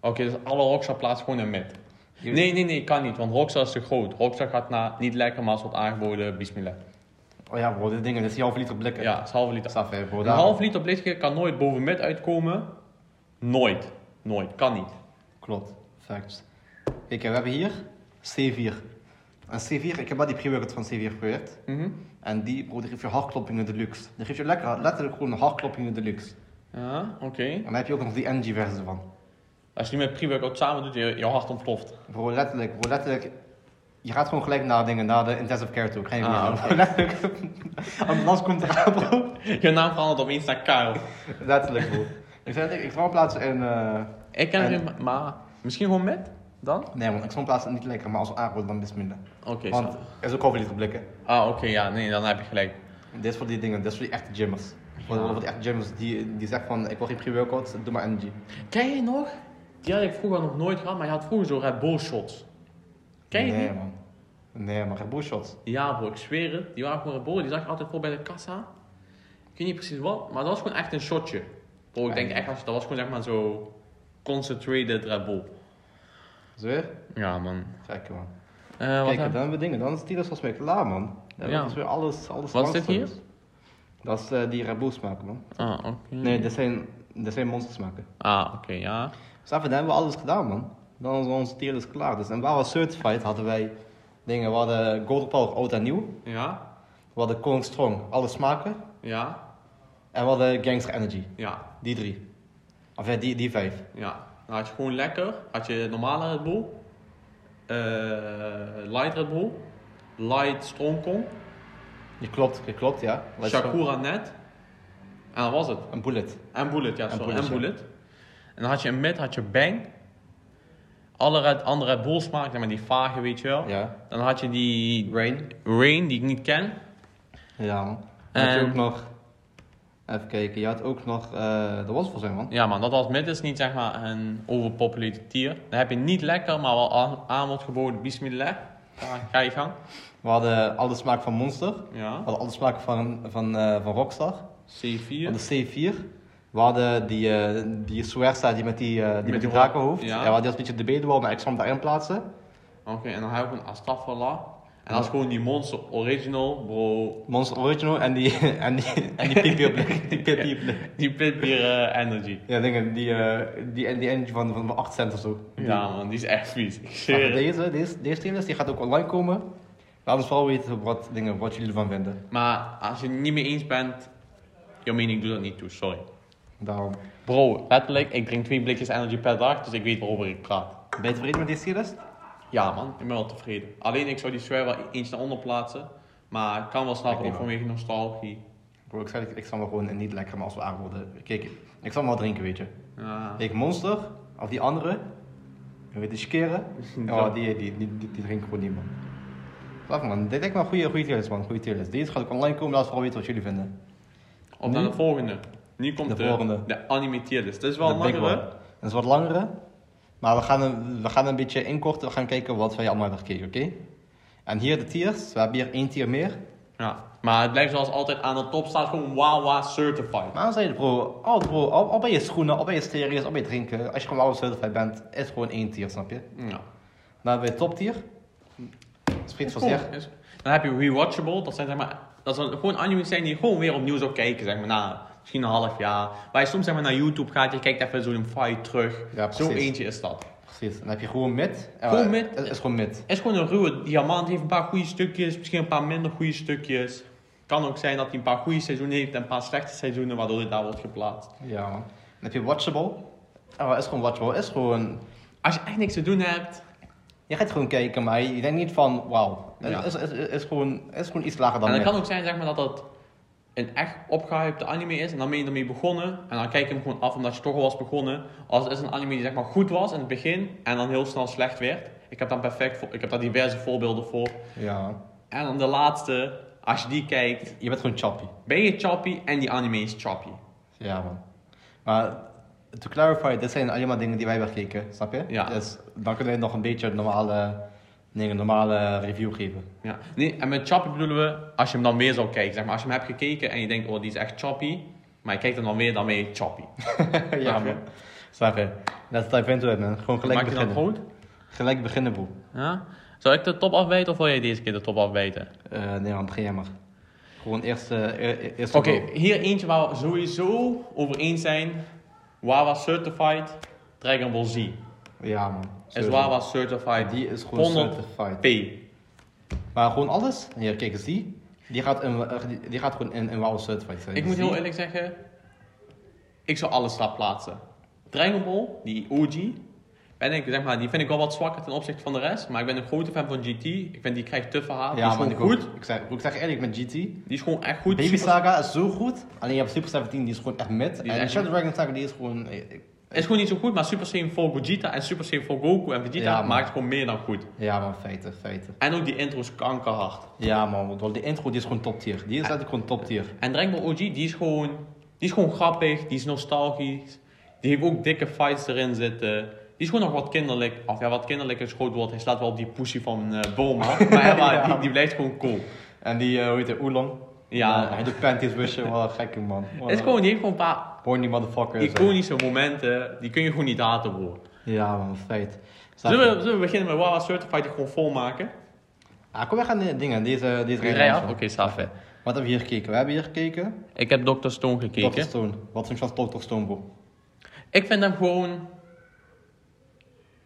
Oké, dus alle Rockstar plaatsen gewoon in mid.
Je-
Nee, nee, nee, kan niet, want Rockstar is te groot. Rockstar gaat naar niet lekker, maar ze wordt aangeboden, bismillah.
Oh ja, bro, dit dingen, dit is die halve liter blikken.
Ja, het is halve liter.
Staf, hè, bro.
Een
daar-
half liter blikje kan nooit boven mid uitkomen. Nooit. Nooit, kan niet.
Klopt, facts. Kijk, we hebben hier C4. En C4, ik heb wel die pre-workout van C4 geprobeerd.
Mhm.
En die, bro, die geeft je hartkloppingen deluxe. Die geeft je lekker, letterlijk gewoon hartkloppingen deluxe.
Ja, oké.
En dan heb je ook nog die energy versie van.
Als je die met pre-workout samen doet, je, je hart ontploft.
Bro, letterlijk, bro, letterlijk. Je gaat gewoon gelijk naar dingen, naar de intensive care toe. Geen
Ah,
ah,
oké.
Letterlijk. Ambulance komt eraan, bro.
Je naam verandert opeens naar Karel.
Letterlijk, bro. Ik zeg ik zal plaatsen in... eh,
Ik ken
En-
hem, niet, maar misschien gewoon met dan?
Nee, man, ik zal plaatsen niet lekker, maar als aanbod dan is minder.
Oké,
Want
zo.
er is ook over liter blikken.
Ah, oké, ja, nee, dan heb je gelijk.
Dit is voor die dingen, dit is voor die echte gymmers. Voor,
Ja.
voor die echte gymmers die, die zeggen van, ik wil geen pre-workout, doe maar energy.
Ken je nog? Die had ik vroeger nog nooit gehad, maar je had vroeger zo Red Bull shots. Ken je
Nee,
die?
man. Nee, man, geen bullshot.
Ja bro, ik zweer het. Die waren gewoon Red Bull, die zag ik altijd voor bij de kassa. Ik weet niet precies wat, maar dat was gewoon echt een shotje. Bro, ik denk echt, als- dat was gewoon zeg maar zo concentrated Red Bull.
Zweer?
Ja man.
Gek, man.
Eh, wat
Kijk, dan
heb...
hebben we dingen. Dan is Titus volgens mij klaar, man. Dan
Ja.
is weer alles, alles
Wat is dit
langs. Dat is eh, die Red maken, man.
Ah, oké.
Nee, dit zijn, dit zijn monsters maken.
Ah, oké, ja.
Snap je, dan hebben we alles gedaan, man. Dan is onze tier dus klaar. Dus, en waar was Certified hadden wij dingen. We hadden Golden Power, oud en nieuw.
Ja,
We hadden Cold Strong, alle smaken.
ja,
En we hadden Gangster Energy,
ja.
die drie. Of ja, die, die vijf.
Ja, dan had je gewoon lekker. Had je normale Red Bull, eh, light Red Bull, light Strongkong,
Je klopt, je klopt, ja. Wat is dat?
Shakura net. En dat was het.
Een bullet.
En Bullet, ja,
En
sorry.
Bullet,
En
ja.
Bullet. En dan had je een mid, had je Bang. Alle Red- andere Red Bull smaak, zeg maar die vage, weet je wel.
Ja.
Dan had je die
Rain.
Rain, die ik niet ken.
Ja, man. En had je
En-
ook nog... Even kijken, je had ook nog... eh, dat was volgens mij, man.
Ja man, dat was mid, is niet zeg maar een overpopulated tier. Dan heb je niet lekker, maar wel aan, aan wordt geboden, bismillah. Ja, ga je gang.
We hadden alle smaak van Monster. We
Ja,
hadden alle smaak van, van, eh, van Rockstar.
C4.
Van de C4. We hadden die, eh die Suerta die met die, eh, die, met die
die
drakenhoofd.
hoofd,
Ja.
ja.
we hadden die als een beetje de bedelbal, maar ik zal hem daarin plaatsen.
Oké, en dan heb ik een Astafallah. En dat is gewoon die Monster Original, bro.
Monster Original en die, en die, en die pipi op de- die pipi op de-
Die Pitbier Energy.
Ja, dingen, die, eh, die, die energy van, van 8 cent of zo.
Ja Ah, man, die is echt vies. Ik
Maar
zweer
voor
het.
deze, deze, deze trailers, die gaat ook online komen. Laat ons vooral weten wat, dingen, wat jullie ervan vinden.
Maar als je het niet mee eens bent, jouw mening doet dat niet toe, sorry.
Daarom.
Bro, letterlijk, ik drink twee blikjes Energy per dag, dus ik weet waarover ik praat.
Ben je tevreden met deze trailers?
Ja man, ik ben wel tevreden. Alleen ik zou die swear wel e- eens naar onder plaatsen. Maar ik kan wel snappen,
Ik
ook
ook.
vanwege nostalgie.
Bro, ik zei, ik, ik zal me gewoon niet lekker, maar als we aanbodden. Kijk, ik zal hem wel drinken, weet je.
Ja.
Ik Monster, of die andere, en weet je, Skeren.
Ja.
Oh, die, die, die, die, die drinken gewoon niet, man. Wacht man, dit lijkt me een goede, goede tier list, man. Goede tier list. Deze gaat ook online komen, laat vooral weten wat jullie vinden.
Op naar de volgende. Nu komt
De
de,
volgende.
de, anime tierlist. Dit is wel
De
een
big
langere.
one. Het is wat langere, maar we gaan, een, we gaan een beetje inkorten. We gaan kijken wat wij allemaal hebben gekeken, oké? En hier de tiers. We hebben hier één tier meer.
Ja. Maar het blijft zoals altijd aan de top staat gewoon Wawa Certified.
Maar dan zei de bro, al, bro al, al ben je schoenen, al ben je stereo's, al ben je drinken, als je gewoon alles certified bent, is gewoon één tier, snap je?
Ja.
Maar bij toptier, spreekt van
Cool.
zich.
Is- Dan heb je rewatchable, dat zijn zeg maar, dat zijn gewoon anime's zijn die je gewoon weer opnieuw zou kijken, zeg maar, na misschien een half jaar. Waar je soms zeg maar naar YouTube gaat, je kijkt even zo'n fight terug.
Ja,
zo
precies.
eentje is dat.
Precies, dan heb je gewoon mid. En
Gewoon
wa-
mid?
Het is gewoon mid.
Is gewoon een ruwe diamant, heeft een paar goede stukjes, misschien een paar minder goede stukjes. Kan ook zijn dat hij een paar goede seizoenen heeft en een paar slechte seizoenen, waardoor hij daar wordt geplaatst.
Ja man. Dan heb je watchable. En wat is gewoon watchable? Is gewoon,
Als je echt niks te doen hebt,
je gaat gewoon kijken, maar je denkt niet van, wauw. Het
Ja.
is, is, is, is gewoon, is gewoon iets lager dan
en
mid.
het kan ook zijn zeg maar, dat dat een echt opgehypte anime is en dan ben je ermee begonnen en dan kijk je hem gewoon af omdat je toch al was begonnen. Als het is een anime die zeg maar, goed was in het begin en dan heel snel slecht werd. Ik heb daar perfect voor, ik heb daar diverse voorbeelden voor.
Ja.
En dan de laatste, als je die kijkt,
Je bent gewoon choppy.
ben je choppy en die anime is choppy.
Ja man. Maar to clarify, dit zijn alleen maar dingen die wij hebben gekeken, snap je?
Ja.
Dus dan kunnen wij nog een beetje normale, dingen, normale review geven.
Ja. Nee, en met choppy bedoelen we als je hem dan weer zou kijken. Zeg maar, als je hem hebt gekeken en je denkt, oh die is echt choppy. Maar je kijkt hem dan weer, dan ben je choppy.
ja
Snap je?
man. Snap je? Let's dive into it man. Gewoon gelijk
Maak je dat
beginnen.
goed?
Gelijk beginnen boe.
Ja? Zal ik de top afwijten of wil jij deze keer de top afwijten?
Eh, nee man, begin jij maar. Gewoon eerst, eh, e- e- eerst
Oké, hier eentje waar we sowieso over eens zijn. Wawa Certified Dragon Ball Z.
Ja man.
Is
Sowieso.
Wawa Certified
Die is gewoon
100
certified.
P.
Maar gewoon alles. Hier, kijk eens die. Die gaat, in, eh, die- die gaat gewoon in, in WoW certified zijn.
Ik moet
Dus
heel
die-
eerlijk zeggen, ik zou alles daar plaatsen. Dragon Ball, die OG, ben ik, zeg maar, die vind ik wel wat zwakker ten opzichte van de rest. Maar ik ben een grote fan van GT. Ik vind die krijgt te verhaal. die
Ja
is
man,
gewoon
ik ook.
goed.
Ik zeg, ik zeg eerlijk, met GT...
Die is gewoon echt goed.
Baby
Super-
Saga is zo goed, alleen je hebt Super 17 die is gewoon echt met.
Die is
en
echt
Shadow Dragon Saga die is gewoon. eh, eh,
Is gewoon niet zo goed, maar Super Saiyan 4 Gogeta en Super Saiyan 4 Goku en Vegeta
Ja, man.
maakt gewoon meer dan goed.
Ja man, feiten, feiten.
En ook die intro's kankerhard.
Ja man, want die intro die is gewoon top tier. Die is eigenlijk gewoon top tier.
En Dragon Ball OG, die is gewoon, die is gewoon grappig, die is nostalgisch. Die heeft ook dikke fights erin zitten. Die is gewoon nog wat kinderlijk. Of ja, wat kinderlijk is groot woord. Hij slaat wel op die pussy van eh Boma. Maar, ja, maar
Ja.
die, die blijft gewoon cool.
En die, eh, hoe heet hij, Oolong?
Ja.
Eh, hij doet panties busje, wel gekke man. Wel
Het is gewoon, die heeft gewoon een paar
Horny motherfucker. is hij.
iconische momenten. Die kun je gewoon niet haten, bro.
Ja man, feit. Snap
Zullen
je?
we, zullen we beginnen met Wawa Certified die gewoon volmaken?
Ah, kom, we gaan eh, dingen, deze, deze
Rij
rijden
af?
we.
Oké, safe.
Wat hebben we hier gekeken? We hebben hier gekeken.
Ik heb Dr. Stone
Dr.
gekeken.
Stone. Wat vind je van Dr. Stone, bro?
Ik vind hem gewoon...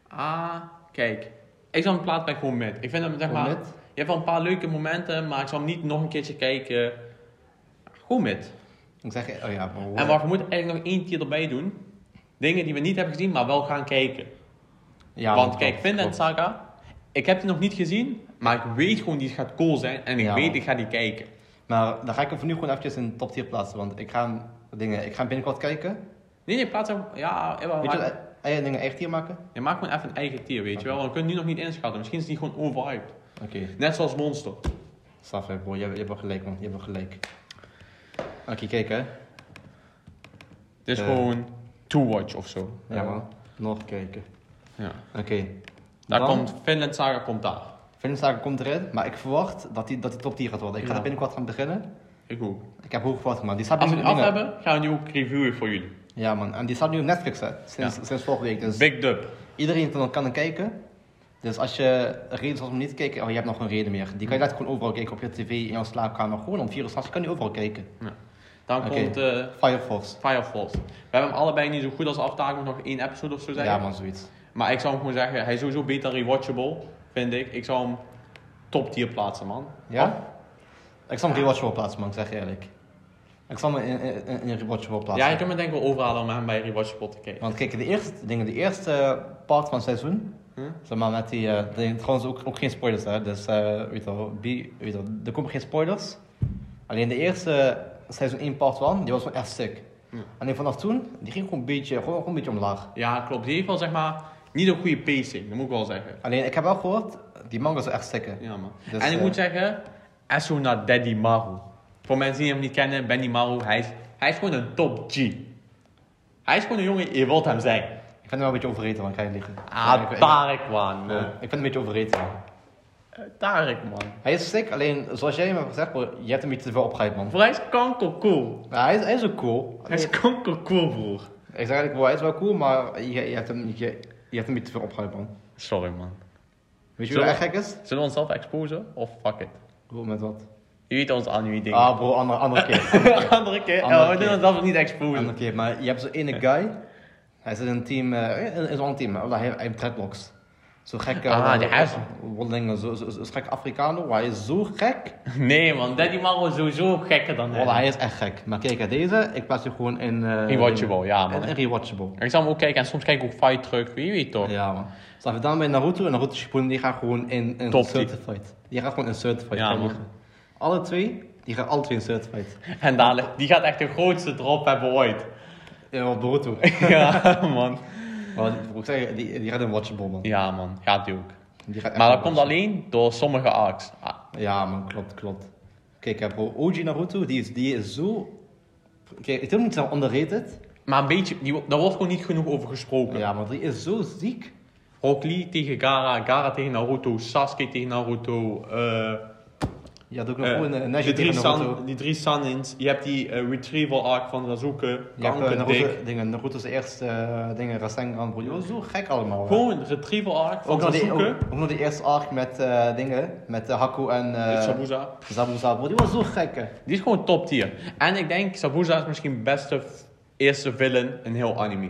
Ah, kijk. Ik zou hem plaats bij gewoon met. Ik vind hem, zeg
Gewoon
maar...
mid?
Je hebt wel een paar leuke momenten, maar ik zou hem niet nog een keertje kijken. Goed met.
Ik zeg, oh ja, bro.
En waar we moeten eigenlijk nog één keer erbij doen. Dingen die we niet hebben gezien, maar wel gaan kijken.
Ja,
Want
man,
kijk,
klopt,
Finland
klopt.
Saga. Ik heb die nog niet gezien, maar ik weet gewoon die gaat cool zijn. En ik
Ja,
weet,
man.
ik ga die kijken.
Maar dan ga ik hem voor nu gewoon eventjes in top tier plaatsen, want ik ga hem, dingen, ik ga hem binnenkort kijken.
Nee, nee, plaats hem. Ja, Ewa,
Weet je wat
maak,
eigen dingen echt hier maken?
je maakt gewoon even een eigen tier, weet je wel. Want we kunnen die nu nog niet inschatten. Misschien is die gewoon overhyped.
Oké,
Net zoals Monster.
Saf, hè, bro. Je, hebt- je hebt wel gelijk, man. Je hebt wel gelijk. Oké, kijk, hè.
Het is
Eh.
gewoon to watch of zo.
Ja, man. Nog kijken.
Ja.
Oké.
Daar
Dan-
komt Finland Saga komt daar.
Filmzaken komt erin, maar ik verwacht dat die, dat die top tier gaat worden. Ik ga
Ja.
daar binnenkort gaan beginnen.
Ik ook.
Ik heb hoog verwacht, man. Die staat
Als we
nu
die af
dingen-
hebben, gaan we die ook reviewen voor jullie.
Ja, man. En die staat nu op Netflix, hè. Sinds,
Ja.
sinds vorige week. Dus
Big Dub.
iedereen kan, kan er kijken. Dus als je een reden zoals om niet te kijken, oh, je hebt nog een reden meer. Die kan je later gewoon overal kijken op je tv, in jouw slaapkamer. Gewoon om vier uur 's nachts, je kan die overal kijken.
Dan
Oké.
komt eh
Fire Force.
Fire Force. We hebben hem allebei niet zo goed als aftaak, nog één episode of zo zijn.
Ja, man, zoiets.
Maar ik zou hem gewoon zeggen, hij is sowieso beter rewatchable, vind ik. Ik zou hem top tier plaatsen, man. Of-
Ja? Ik zal hem rewatchable plaatsen, man, ik zeg je eerlijk. Ik zal hem in, in, in- in rewatchable
ja,
plaatsen.
je kunt me denk ik wel overhalen om hem bij rewatchable te kijken.
Want kijk, de eerste dingen, de eerste part van het seizoen,
Hm?
zeg maar met die, eh, die- trouwens ook, ook geen spoilers hè, dus eh, weet je wel, be- weet je wel, er komen geen spoilers. Alleen de eerste seizoen 1 part 1, die was gewoon echt sick.
Hm.
Alleen vanaf toen, die ging gewoon een beetje, gewoon, gewoon een beetje omlaag.
Ja, klopt. Die heeft wel, zeg maar, niet een goede pacing, dat moet ik wel zeggen.
Alleen ik heb wel gehoord, die manga is echt sick. hè.
Ja, man.
Dus,
en ik
eh,
moet zeggen, Esso naar Daddy Maru. Voor mensen die hem niet kennen, Benny Maru, hij is, hij is gewoon een top G. Hij is gewoon een jongen, je wilt hem zijn.
Ik vind hem wel een beetje overrated, man, ik ga je niet liegen. Ja, ik-
Ah,
ik-
Barekwan.
Ik vind hem een beetje overrated. man.
Eh, Tarek, man.
Hij is sick, alleen zoals jij hem hebt gezegd, bro, je hebt hem iets te veel opgehyped, man.
Voor hij is kankercool.
Ja, hij, is, hij is ook cool.
Hij is kankercool, broer.
Ik zeg eigenlijk, bro, hij is wel cool, maar je, je, hebt, hem, je, je hebt hem iets te veel opgehyped, man.
Sorry, man.
Weet je
Zo.
wat echt gek is?
Zullen we onszelf exposen? Of fuck it?
Bro, met wat?
Je weet ons aan wie dingen.
Ah, bro, andere, andere keer.
Andere keer.
Andere
oh, we
keer.
doen onszelf niet exposen.
andere keer. Maar je hebt zo'n ene guy, hij zit in een team, eh, in, in zo'n team, eh, hij hij heeft dreadlocks. Zo'n gekke...
Ah,
eh,
die huis.
Wolling, zo- zo- zo'n gek Afrikaner, maar hij is zo gek.
Nee, man. Daddy Marro is sowieso gekker dan
Wallah,
hij.
hij is echt gek. Maar kijk, deze, ik plaats hem gewoon in... eh,
Rewatchable, ja,
in-
man.
in rewatchable.
Ik zal hem ook kijken en soms kijk ik ook fight terug. Wie weet toch?
Ja, man. Dus Snap je? Daarom bij Naruto en Naruto Shippuden, die gaan gewoon in, in
Top
certified. Die gaan gewoon in certified.
Ja,
gaan
man.
liggen. Alle twee, die gaan alle twee in certified.
En dadelijk, die gaat echt de grootste drop hebben ooit.
Ja, op Naruto.
ja, man.
maar die- moet ik zeggen, die, die gaat in watchable, man.
Ja, man. Gaat die ook.
Die gaat echt
Maar dat
in
komt
watchable.
alleen door sommige arcs. Ah,
Ja, man, klopt, klopt. Kijk, hè, bro, OG Naruto, die is, die is zo... Kijk, ik wil niet zeggen underrated.
Maar een beetje, die, wo- daar wordt gewoon niet genoeg over gesproken.
Ja, maar die is zo ziek.
Rock Lee tegen Gara, Gara tegen Naruto, Sasuke tegen Naruto. eh,
Je had ook nog
eh,
gewoon een Neji
die, drie
tegen Naruto.
Sun- die drie Sunnins. Je hebt die eh, retrieval arc van Razuke,
Je hebt eh,
kankerdik.
Naruto, dingen, Naruto's eerste eh, dingen, Rasengan, bro. Joh, zo gek allemaal. hè.
Gewoon retrieval arc van
Ook nog, die, ook,
Razuke.
ook nog die eerste arc met eh, dingen, met eh, Haku en
Met
eh
Sabuza.
Zabu Zabu. Die was zo gek, hè.
Die is gewoon top tier. En ik denk, Sabuza is misschien de beste f- eerste villain in heel anime.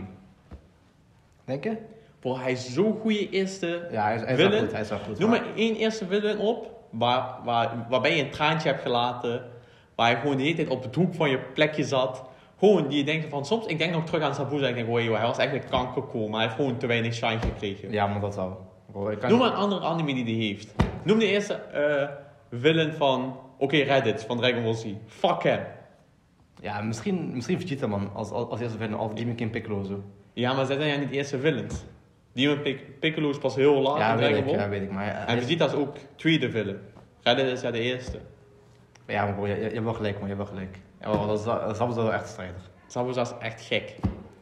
Denk je?
Bro, hij is zo'n goede eerste
Ja, hij is, hij is wel
Villain?
goed, hij is wel goed.
Noem
maar-
maar één eerste villain op waar, waar, waarbij je een traantje hebt gelaten. Waar je gewoon de hele tijd op het hoek van je plekje zat. Gewoon die je denkt van soms, ik denk nog terug aan Sabuza. Ik denk, wow, joh, hij was eigenlijk kankercool, maar hij heeft gewoon te weinig shine gekregen.
Ja, maar dat wel. Bro, ik kan...
Noem maar een andere anime die die heeft. Noem de eerste eh, villain van, oké, Reddit van Dragon Ball Z. Fuck hem.
Ja, misschien, misschien Vegeta, man. Als, als, als eerste villain, als Demon King Piccolo, zo.
Ja, maar zij zijn ja niet de eerste villains. Demon Pic- Piccolo is pas heel laat
ja,
in
weet
Ah, Dragon
ik,
Ball.
ja, weet ik. Maar hij-
En Vegeta is ook tweede villain. Reddit is ja de eerste.
ja, maar bro, je, je, je hebt wel gelijk, man. Je hebt wel gelijk. Ja, maar dat is dat is wel echt strijder.
Sabuza is echt gek.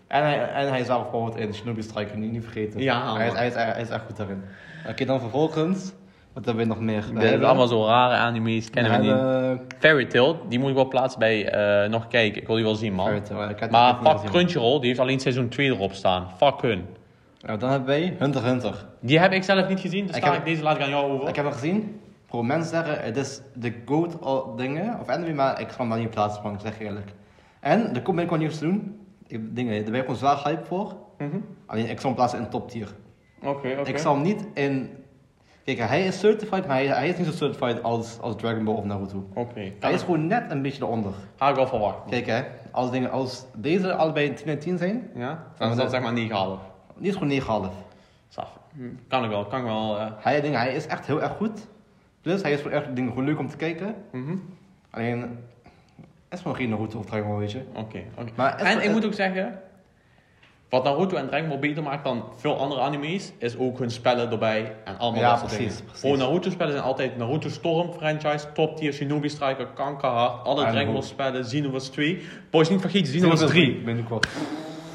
En hij, en hij is wel bijvoorbeeld in Shinobi Striker, niet, niet vergeten.
Ja,
hij is,
man.
hij, is, hij is echt goed daarin. Oké, dan vervolgens. Wat hebben we nog meer?
Dat zijn allemaal zo rare anime's, kennen we niet. Fairy Tail, die moet ik wel plaatsen bij eh, nog kijken. Ik wil die wel zien,
Eh,
man. Maar fuck Crunchyroll, die heeft alleen seizoen 2 erop staan. Fuck hun.
Nou, dan hebben wij Hunter x Hunter.
Die heb ik zelf niet gezien, dus
Ik
ik
heb-
ik deze laat ik aan jou over.
Ik heb hem gezien. Bro, mensen zeggen het is de goat al dingen, of anime, maar ik ga hem daar niet plaatsen, man, ik zeg eerlijk. En er komt binnenkort nieuws te doen. Ik, dingen, daar ben ik gewoon zwaar hype voor.
Mhm.
Alleen ik zal hem plaatsen in top tier.
Oké, oké.
Ik zal hem niet in. Kijk, hij is certified, maar hij, hij is niet zo certified als, als Dragon Ball of Naruto.
Oké,
Hij
Kan
is
ik-
gewoon net een beetje eronder.
ga ik wel verwachten.
Kijk hè, als, dingen, als deze allebei een 10 en 10 zijn,
Ja? Dan is dat zeg maar 9,5.
die is gewoon 9,5.
Saf.
Mhm.
Kan ik wel, kan ik wel. eh.
Hij, dingen, hij is echt heel erg goed. Plus, hij is gewoon echt dingen, gewoon leuk om te kijken.
Mhm.
Alleen, het is gewoon geen Naruto of Dragon Ball, weet je.
Oké, oké.
Maar
En
het-
ik moet ook zeggen, wat Naruto en Dragon Ball beter maakt dan veel andere anime's, is ook hun spellen erbij en allemaal
Ja,
dat soort
precies,
dingen.
precies.
Gewoon Naruto spellen zijn altijd Naruto Storm franchise, top tier, Shinobi Striker, Kankerhart, alle
En
Dragon Ball
Hulk.
spellen, Xenoverse 2. Boys, niet vergeten, Xenoverse 3.
Binnenkort.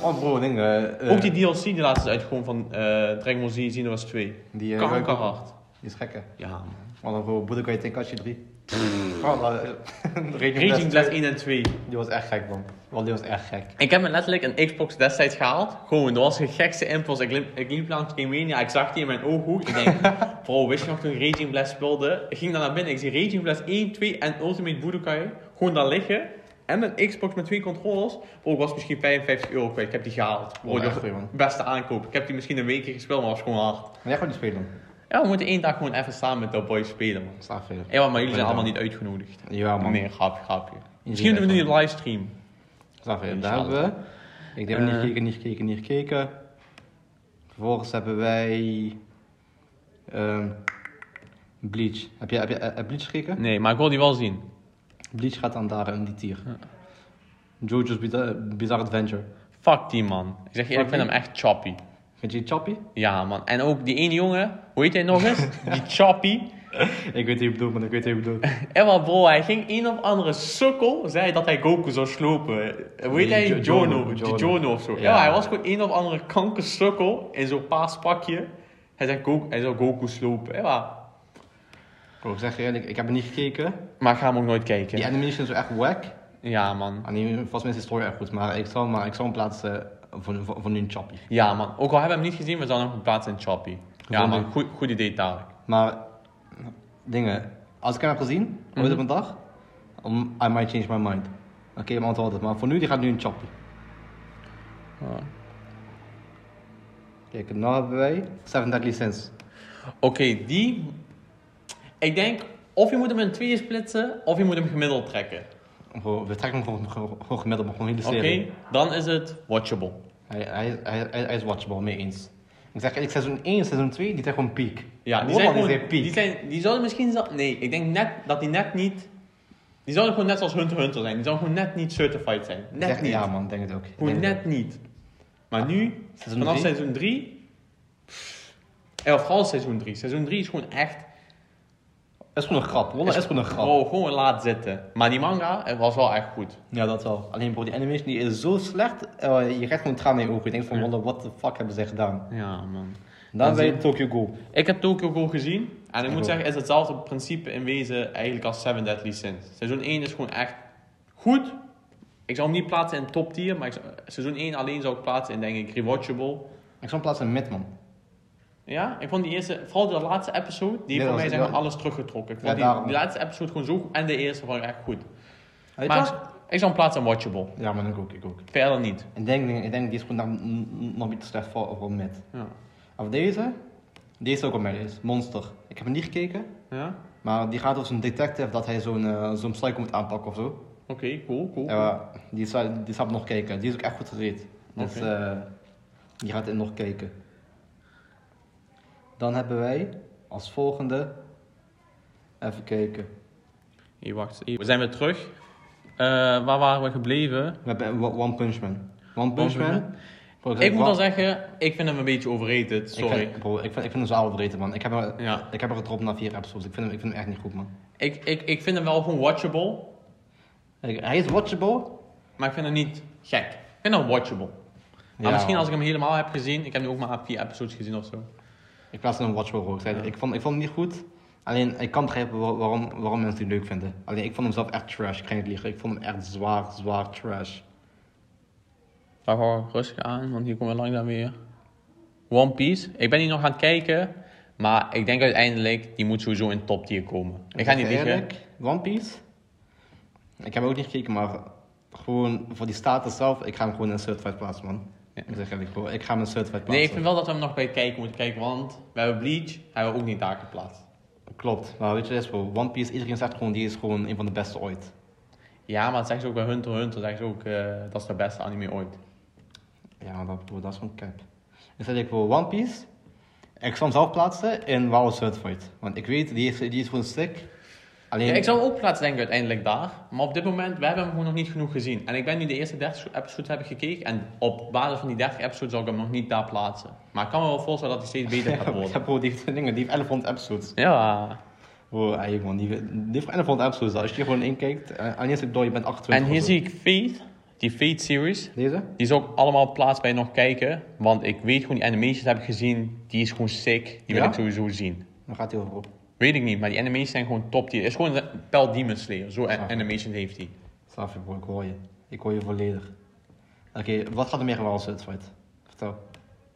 Oh bro, dingen. eh,
Ook die DLC die laatst is uitgekomen van eh Dragon Ball Z, Xenoverse 2.
Die, eh,
Kankerhart.
die is gekke.
Ja, man.
Want dan bro, Budokai Tenkaichi 3. Oh, la- eh, Raging
Raging
Blast
Blast 1 en 2.
Die was echt gek, man. Want die was echt gek.
Ik heb me letterlijk een Xbox destijds gehaald. Gewoon, dat was de gekste impulse. Ik liep, ik liep langs Gamemania, ik zag die in mijn ooghoek. Ik denk, bro, wist je nog toen Raging Blast speelde? Ik ging dan naar binnen, ik zie Raging Blast 1, 2 en Ultimate Budokai gewoon daar liggen. En een Xbox met twee controllers. Bro, ik was misschien 55 euro kwijt. Ik heb die gehaald. Bro,
Oh,
die
echt,
was
man.
beste aankoop. Ik heb die misschien een weekje gespeeld, maar was gewoon hard.
Maar jij gaat die spelen.
Ja, we moeten één dag gewoon even samen met de boys spelen, man.
Slaap veel.
Ja, maar jullie zijn allemaal niet uitgenodigd.
Ja, man.
Nee, grapje, grapje. Misschien
bent
doen we nu
wel.
een livestream.
Slaap veel. Daar
Inshallah.
hebben we. Ik heb niet
Eh.
gekeken, niet gekeken, niet gekeken. Vervolgens hebben wij. ehm, Bleach. Heb je, heb je eh, eh, Bleach gekeken?
Nee, maar ik wil die wel zien.
Bleach gaat dan daar in die tier. Jojo's Bizarre, Bizarre Adventure.
Fuck die man. Ik zeg je,
Fuck
ik vind
die?
hem echt choppy.
Vind je die choppy?
Ja man. En ook die ene jongen, hoe heet hij nog eens? die choppy.
Ik weet wie je bedoelt, maar ik weet wie je bedoelt.
En wat bro, hij ging een of andere sukkel, zei dat hij Goku zou slopen. Hoe heet
Die
hij?
Jo-
Jono.
Jono,
Die
Jono.
Jono of zo. Ja.
Ja.
hij was gewoon een of andere kanker sukkel in zo'n paas pakje. Hij zei Goku, hij zou Goku slopen. Ja,
Bro, ik zeg je eerlijk, ik heb er niet gekeken.
Maar ik ga hem ook nooit kijken.
Die
Ja,
animations zijn echt wack.
man.
Ah, nee, volgens mij is de story echt goed, maar ik zal, maar ik zal hem plaatsen voor, voor, voor nu een choppie.
Ja, man. Ook al hebben we hem niet gezien, we zouden hem plaatsen in Choppy. Ja,
Gevonden.
man. Goed, goed idee, Tarek.
Maar, dingen, als ik hem heb gezien, ooit op een dag, um, I might change my mind. Oké, maar altijd. Maar voor nu, die gaat nu een choppie.
Ja.
Kijk, nou hebben wij Seven Deadly Sins.
Oké, die. Ik denk, of je moet hem in tweeën splitsen, of je moet hem gemiddeld trekken.
Gewoon- We trekken hem gewoon- gewoon gewoon gemiddeld, maar gewoon een hele
Oké,
serie.
dan is het watchable.
Hij, hij, hij, hij, hij is watchable, mee eens. Ik zeg eerlijk, seizoen 1 en seizoen 2, die zijn gewoon piek.
Ja, die
Wow,
zijn gewoon,
die zijn piek.
Die, zijn, die zouden misschien... zelf- Nee, ik denk net dat die net niet... Die zouden gewoon net zoals Hunter x Hunter zijn. Die zouden gewoon net niet certified zijn.
Ik
Net
zeg-
niet.
Ja man, ik denk het ook. Ik
Gewoon
denk het
net niet. Maar nu,
Seizoen
vanaf
drie?
seizoen 3... En vooral seizoen 3. Seizoen 3 is gewoon echt...
ook. Het is gewoon een grap, Wallah, het is gewoon een grap.
Oh, gewoon laat zitten. Maar die manga eh, was wel echt goed.
Ja, dat wel. Alleen bro, die animation die is zo slecht, eh, je krijgt gewoon tranen in je ogen. Je denkt van, Wallah, what the fuck hebben ze gedaan?
Ja, man.
Dan
En
ben
zo-
je Tokyo Ghoul.
Ik heb Tokyo Ghoul gezien. En ik
ook.
moet zeggen, is hetzelfde principe in wezen eigenlijk als Seven Deadly Sins. Seizoen 1 is gewoon echt goed. Ik zou hem niet plaatsen in top tier, maar ik zou- seizoen 1 alleen zou ik plaatsen in, denk ik, rewatchable.
Ik zal hem plaatsen in mid, man.
Ja, ik vond die eerste, vooral de laatste episode,
Ja,
die heeft voor mij
dat-
zeg maar
ja.
alles teruggetrokken. Ik
Ja,
vond die,
daarom.
die laatste episode gewoon zo goed en de eerste vond ik echt goed.
Hij
Maar ik
plaatst-
zou- ik zou hem plaatsen in watchable.
Ja man, ik ook, ik ook.
Verder niet.
Ik denk, ik denk die is gewoon nog- nog niet te slecht voor, voor mid.
Ja.
Of deze, deze is ook op mij is, Monster. Ik heb hem niet gekeken,
Ja?
maar die gaat over zo'n detective dat hij zo'n eh, zo'n psycho moet aanpakken of zo.
Oké, cool, cool.
Ja, maar die zou, die zou ik nog kijken. Die is ook echt goed gereed. Dus
Oké.
eh, die gaat in nog kijken. Dan hebben wij als volgende. Even kijken.
Hey, wacht. Hey, we zijn weer terug. Eh, waar waren we gebleven?
We hebben O- One Punch Man. One Punch
Punch Man.
Man. Bro,
Ik moet
wa-
al zeggen, ik vind hem een beetje overrated, sorry.
Ik vind, bro, ik vind, ik vind hem zo overrated man. Ik heb er,
Ja.
ik heb er gedropt na vier episodes. Ik vind hem, ik vind hem echt niet goed man.
Ik, ik, ik vind hem wel gewoon watchable,
Ik- hij is watchable.
maar ik vind hem niet gek. Ik vind hem watchable.
Ja,
maar misschien
man.
als ik hem helemaal heb gezien, ik heb nu ook maar vier episodes gezien of zo.
Ik plaats hem een watchable hoor. Ik, zei,
Ja.
ik, vond, ik vond hem niet goed. Alleen ik kan begrijpen wa- waarom, waarom mensen die leuk vinden. Alleen ik vond hem zelf echt trash. Ik ga niet liegen. Ik vond hem echt zwaar, zwaar trash.
Daar gaan we oh, rustig aan, want hier komen we langzaam weer. One Piece, ik ben hier nog aan het kijken, maar ik denk uiteindelijk, die moet sowieso in top tier komen. Ik ga
zeg
niet
je
liegen.
eerlijk, One Piece. Ik heb ook niet gekeken, maar gewoon voor die status zelf, ik ga hem gewoon in certified plaatsen man.
Ja.
Ik zeg eerlijk, gewoon, ik ga hem in certified plaatsen.
Nee, ik vind wel dat we hem nog bij het kijken moeten kijken, want we hebben Bleach, hebben we ook niet daar geplaatst.
Klopt, maar weet je, dat is wel, One Piece, iedereen zegt gewoon, die is gewoon een van de beste ooit.
Ja, maar dat zeggen ze ook bij Hunter x Hunter, zeggen ze ook, eh, dat is de beste anime ooit.
Ja, maar dat, broer, dat is gewoon cap. Ik zeg ik voor One Piece, ik zal hem zelf plaatsen in WoW certified. Want ik weet, die is, die is gewoon sick. Alleen,
Ja, ik zou hem ook plaatsen denken uiteindelijk daar. Maar op dit moment, we hebben hem gewoon nog niet genoeg gezien. En ik ben nu de eerste 30 episodes heb ik gekeken. En op basis van die 30 episodes zou ik hem nog niet daar plaatsen. Maar ik kan me wel voorstellen dat hij steeds beter gaat
ja,
worden.
bro, die heeft dingen, die heeft 1100 episodes.
Ja.
Bro, ey, man, die, die heeft 1100 episodes. Als je hier gewoon in kijkt, eh, aan je zit door, je bent 28 of
En hier
zo.
zie ik Fate, die Fate-series.
Deze?
Die zou ik allemaal plaats bij nog kijken. Want ik weet gewoon, die animations heb ik gezien. Die is gewoon sick. Die wil
Ja?
ik sowieso zien.
Dan gaat hij over op.
Weet ik niet, maar die animations zijn gewoon top. Die is gewoon een Pel Demon Slayer. Zo'n
Snap ik.
animation heeft hij.
Snap je, bro, ik hoor je. Ik hoor je volledig. Oké, wat gaat er meer gebeuren als het fight? Vertel.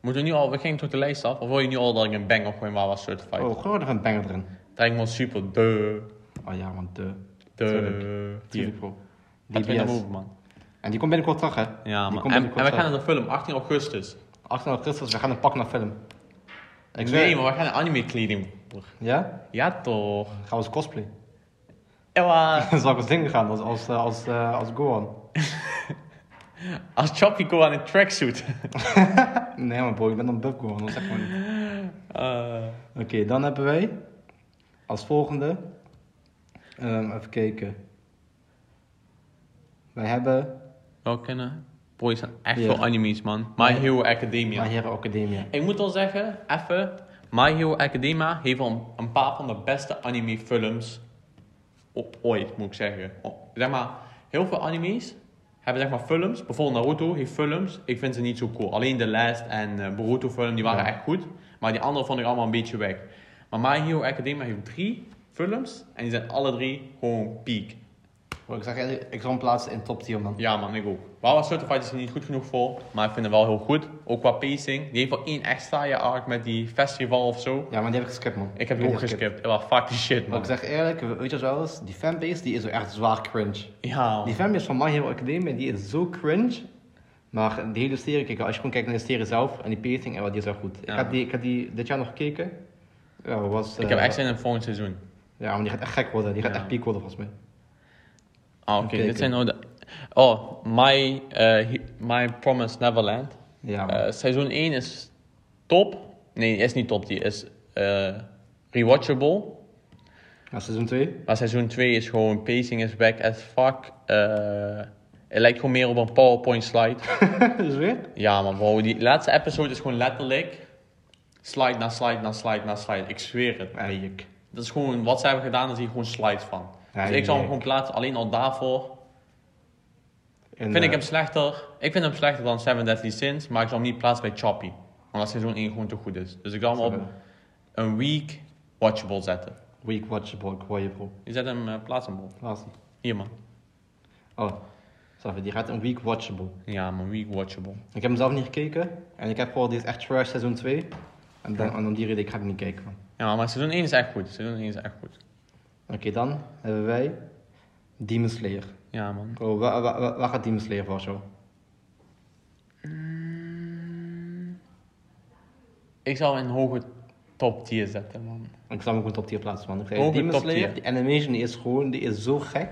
Moeten we nu al, we gingen toch de lijst af? Of wil je nu al dat ik een bang opgooi waar was certified?
Oh, gooi er een banger erin.
Dat lijkt me wel super. De.
Oh ja, man, de. Tuurlijk.
De.
Tuurlijk, bro. DBS.
Die man.
En die komt binnenkort terug, hè?
Ja,
Die
man.
komt
En, en
binnenkort
we
terug.
gaan naar de film, 18 augustus.
18 augustus, we gaan een pak naar film. Ik
nee,
zweer.
maar we gaan naar anime kleding.
Ja?
Ja, toch.
Dan gaan we als cosplay.
Ewa.
Dan zal ik als ding gaan, als, als, eh, als, eh, als Gohan.
Als Choppy go aan een tracksuit.
Nee, maar bro, ik ben dan Bub Gohan, dat zeg maar niet.
Eh,
Oké, dan hebben wij als volgende. ehm, even kijken. Wij hebben
wel kennen. Boy, er zijn echt
Ja.
veel anime's, man. My Hero Academia.
My Hero Academia.
Ik moet wel zeggen, even. My Hero Academia heeft wel een- een paar van de beste anime films o- ooit, moet ik zeggen. O- Zeg maar, heel veel anime's hebben zeg maar films. Bijvoorbeeld Naruto heeft films. Ik vind ze niet zo cool. Alleen The Last en eh, Boruto film, die waren
Ja.
echt goed. Maar die andere vond ik allemaal een beetje weg. Maar My Hero Academia heeft drie. films. En die zijn alle drie gewoon piek.
Bro, ik zeg eerlijk, ik zou hem plaatsen in top tier, man.
Ja man, ik ook. Wawa Certified is er niet goed genoeg voor, maar ik vind hem wel heel goed. Ook qua pacing. Die heeft wel één extra je arc met die festival of zo.
Ja, maar die heb ik geskipt, man.
Ik heb Oh, die ook geskipt. Ja, fuck die shit
Maar
man.
ik zeg eerlijk, weet je wel eens, die fanbase die is wel echt zwaar cringe.
Ja, man.
Die fanbase van My Hero Academia die is zo cringe. Maar de hele serie, kijk, als je gewoon kijkt naar de serie zelf en die pacing en wat, die is wel goed.
Ja.
Ik, had die, ik had die dit jaar nog gekeken. Ja, was,
ik
eh,
heb echt zin in het volgend seizoen.
Ja, maar die gaat echt gek worden. Die gaat
Ja.
echt piek worden, volgens mij.
Ah, oké.
Even
Dit
kijken.
zijn nou de... Oh, My, eh, He- My Promise Neverland.
Ja, man.
Eh, seizoen 1 is top. Nee, is niet top. Die is eh, rewatchable.
Ja, seizoen 2.
Maar seizoen 2 is gewoon pacing is back as fuck. Eh, het lijkt gewoon meer op een PowerPoint slide.
dus weer?
ja man, bro. Die laatste episode is gewoon letterlijk slide na slide na slide na slide. Ik zweer het.
Ja, juk.
Dat is gewoon wat ze hebben gedaan, daar zie je gewoon slides van.
Ja,
dus ik zou hem
jee.
gewoon plaatsen alleen al daarvoor.
En,
Vind ik
eh,
hem slechter? Ik vind hem slechter dan Seven Deadly Sins, maar ik zal hem niet plaatsen bij Choppy. Omdat seizoen 1 gewoon te goed is. Dus ik zal hem op een week watchable zetten.
Week watchable, ik hoor je, bro.
Je zet hem, eh, plaats hem op.
Waar is die?
Hier man.
Oh, sorry, die gaat een week watchable.
Ja man, week watchable.
Ik heb hem zelf niet gekeken. En ik heb gehoord, die is echt trash seizoen 2. En, dan, en om die reden, ik ga hem niet kijken, man.
Ja, maar seizoen 1 is echt goed. Seizoen 1 is echt goed.
Oké, dan hebben wij Demon Slayer.
Ja man.
Bro, waar, waar, waar- waar gaat Demon Slayer voor, zo?
Ik zou hem in hoge top tier zetten man.
Ik zou hem gewoon top tier plaatsen, man. Ik zei,
Hoge
Demon
top
Slayer,
tier.
die animation die is gewoon, die is zo gek.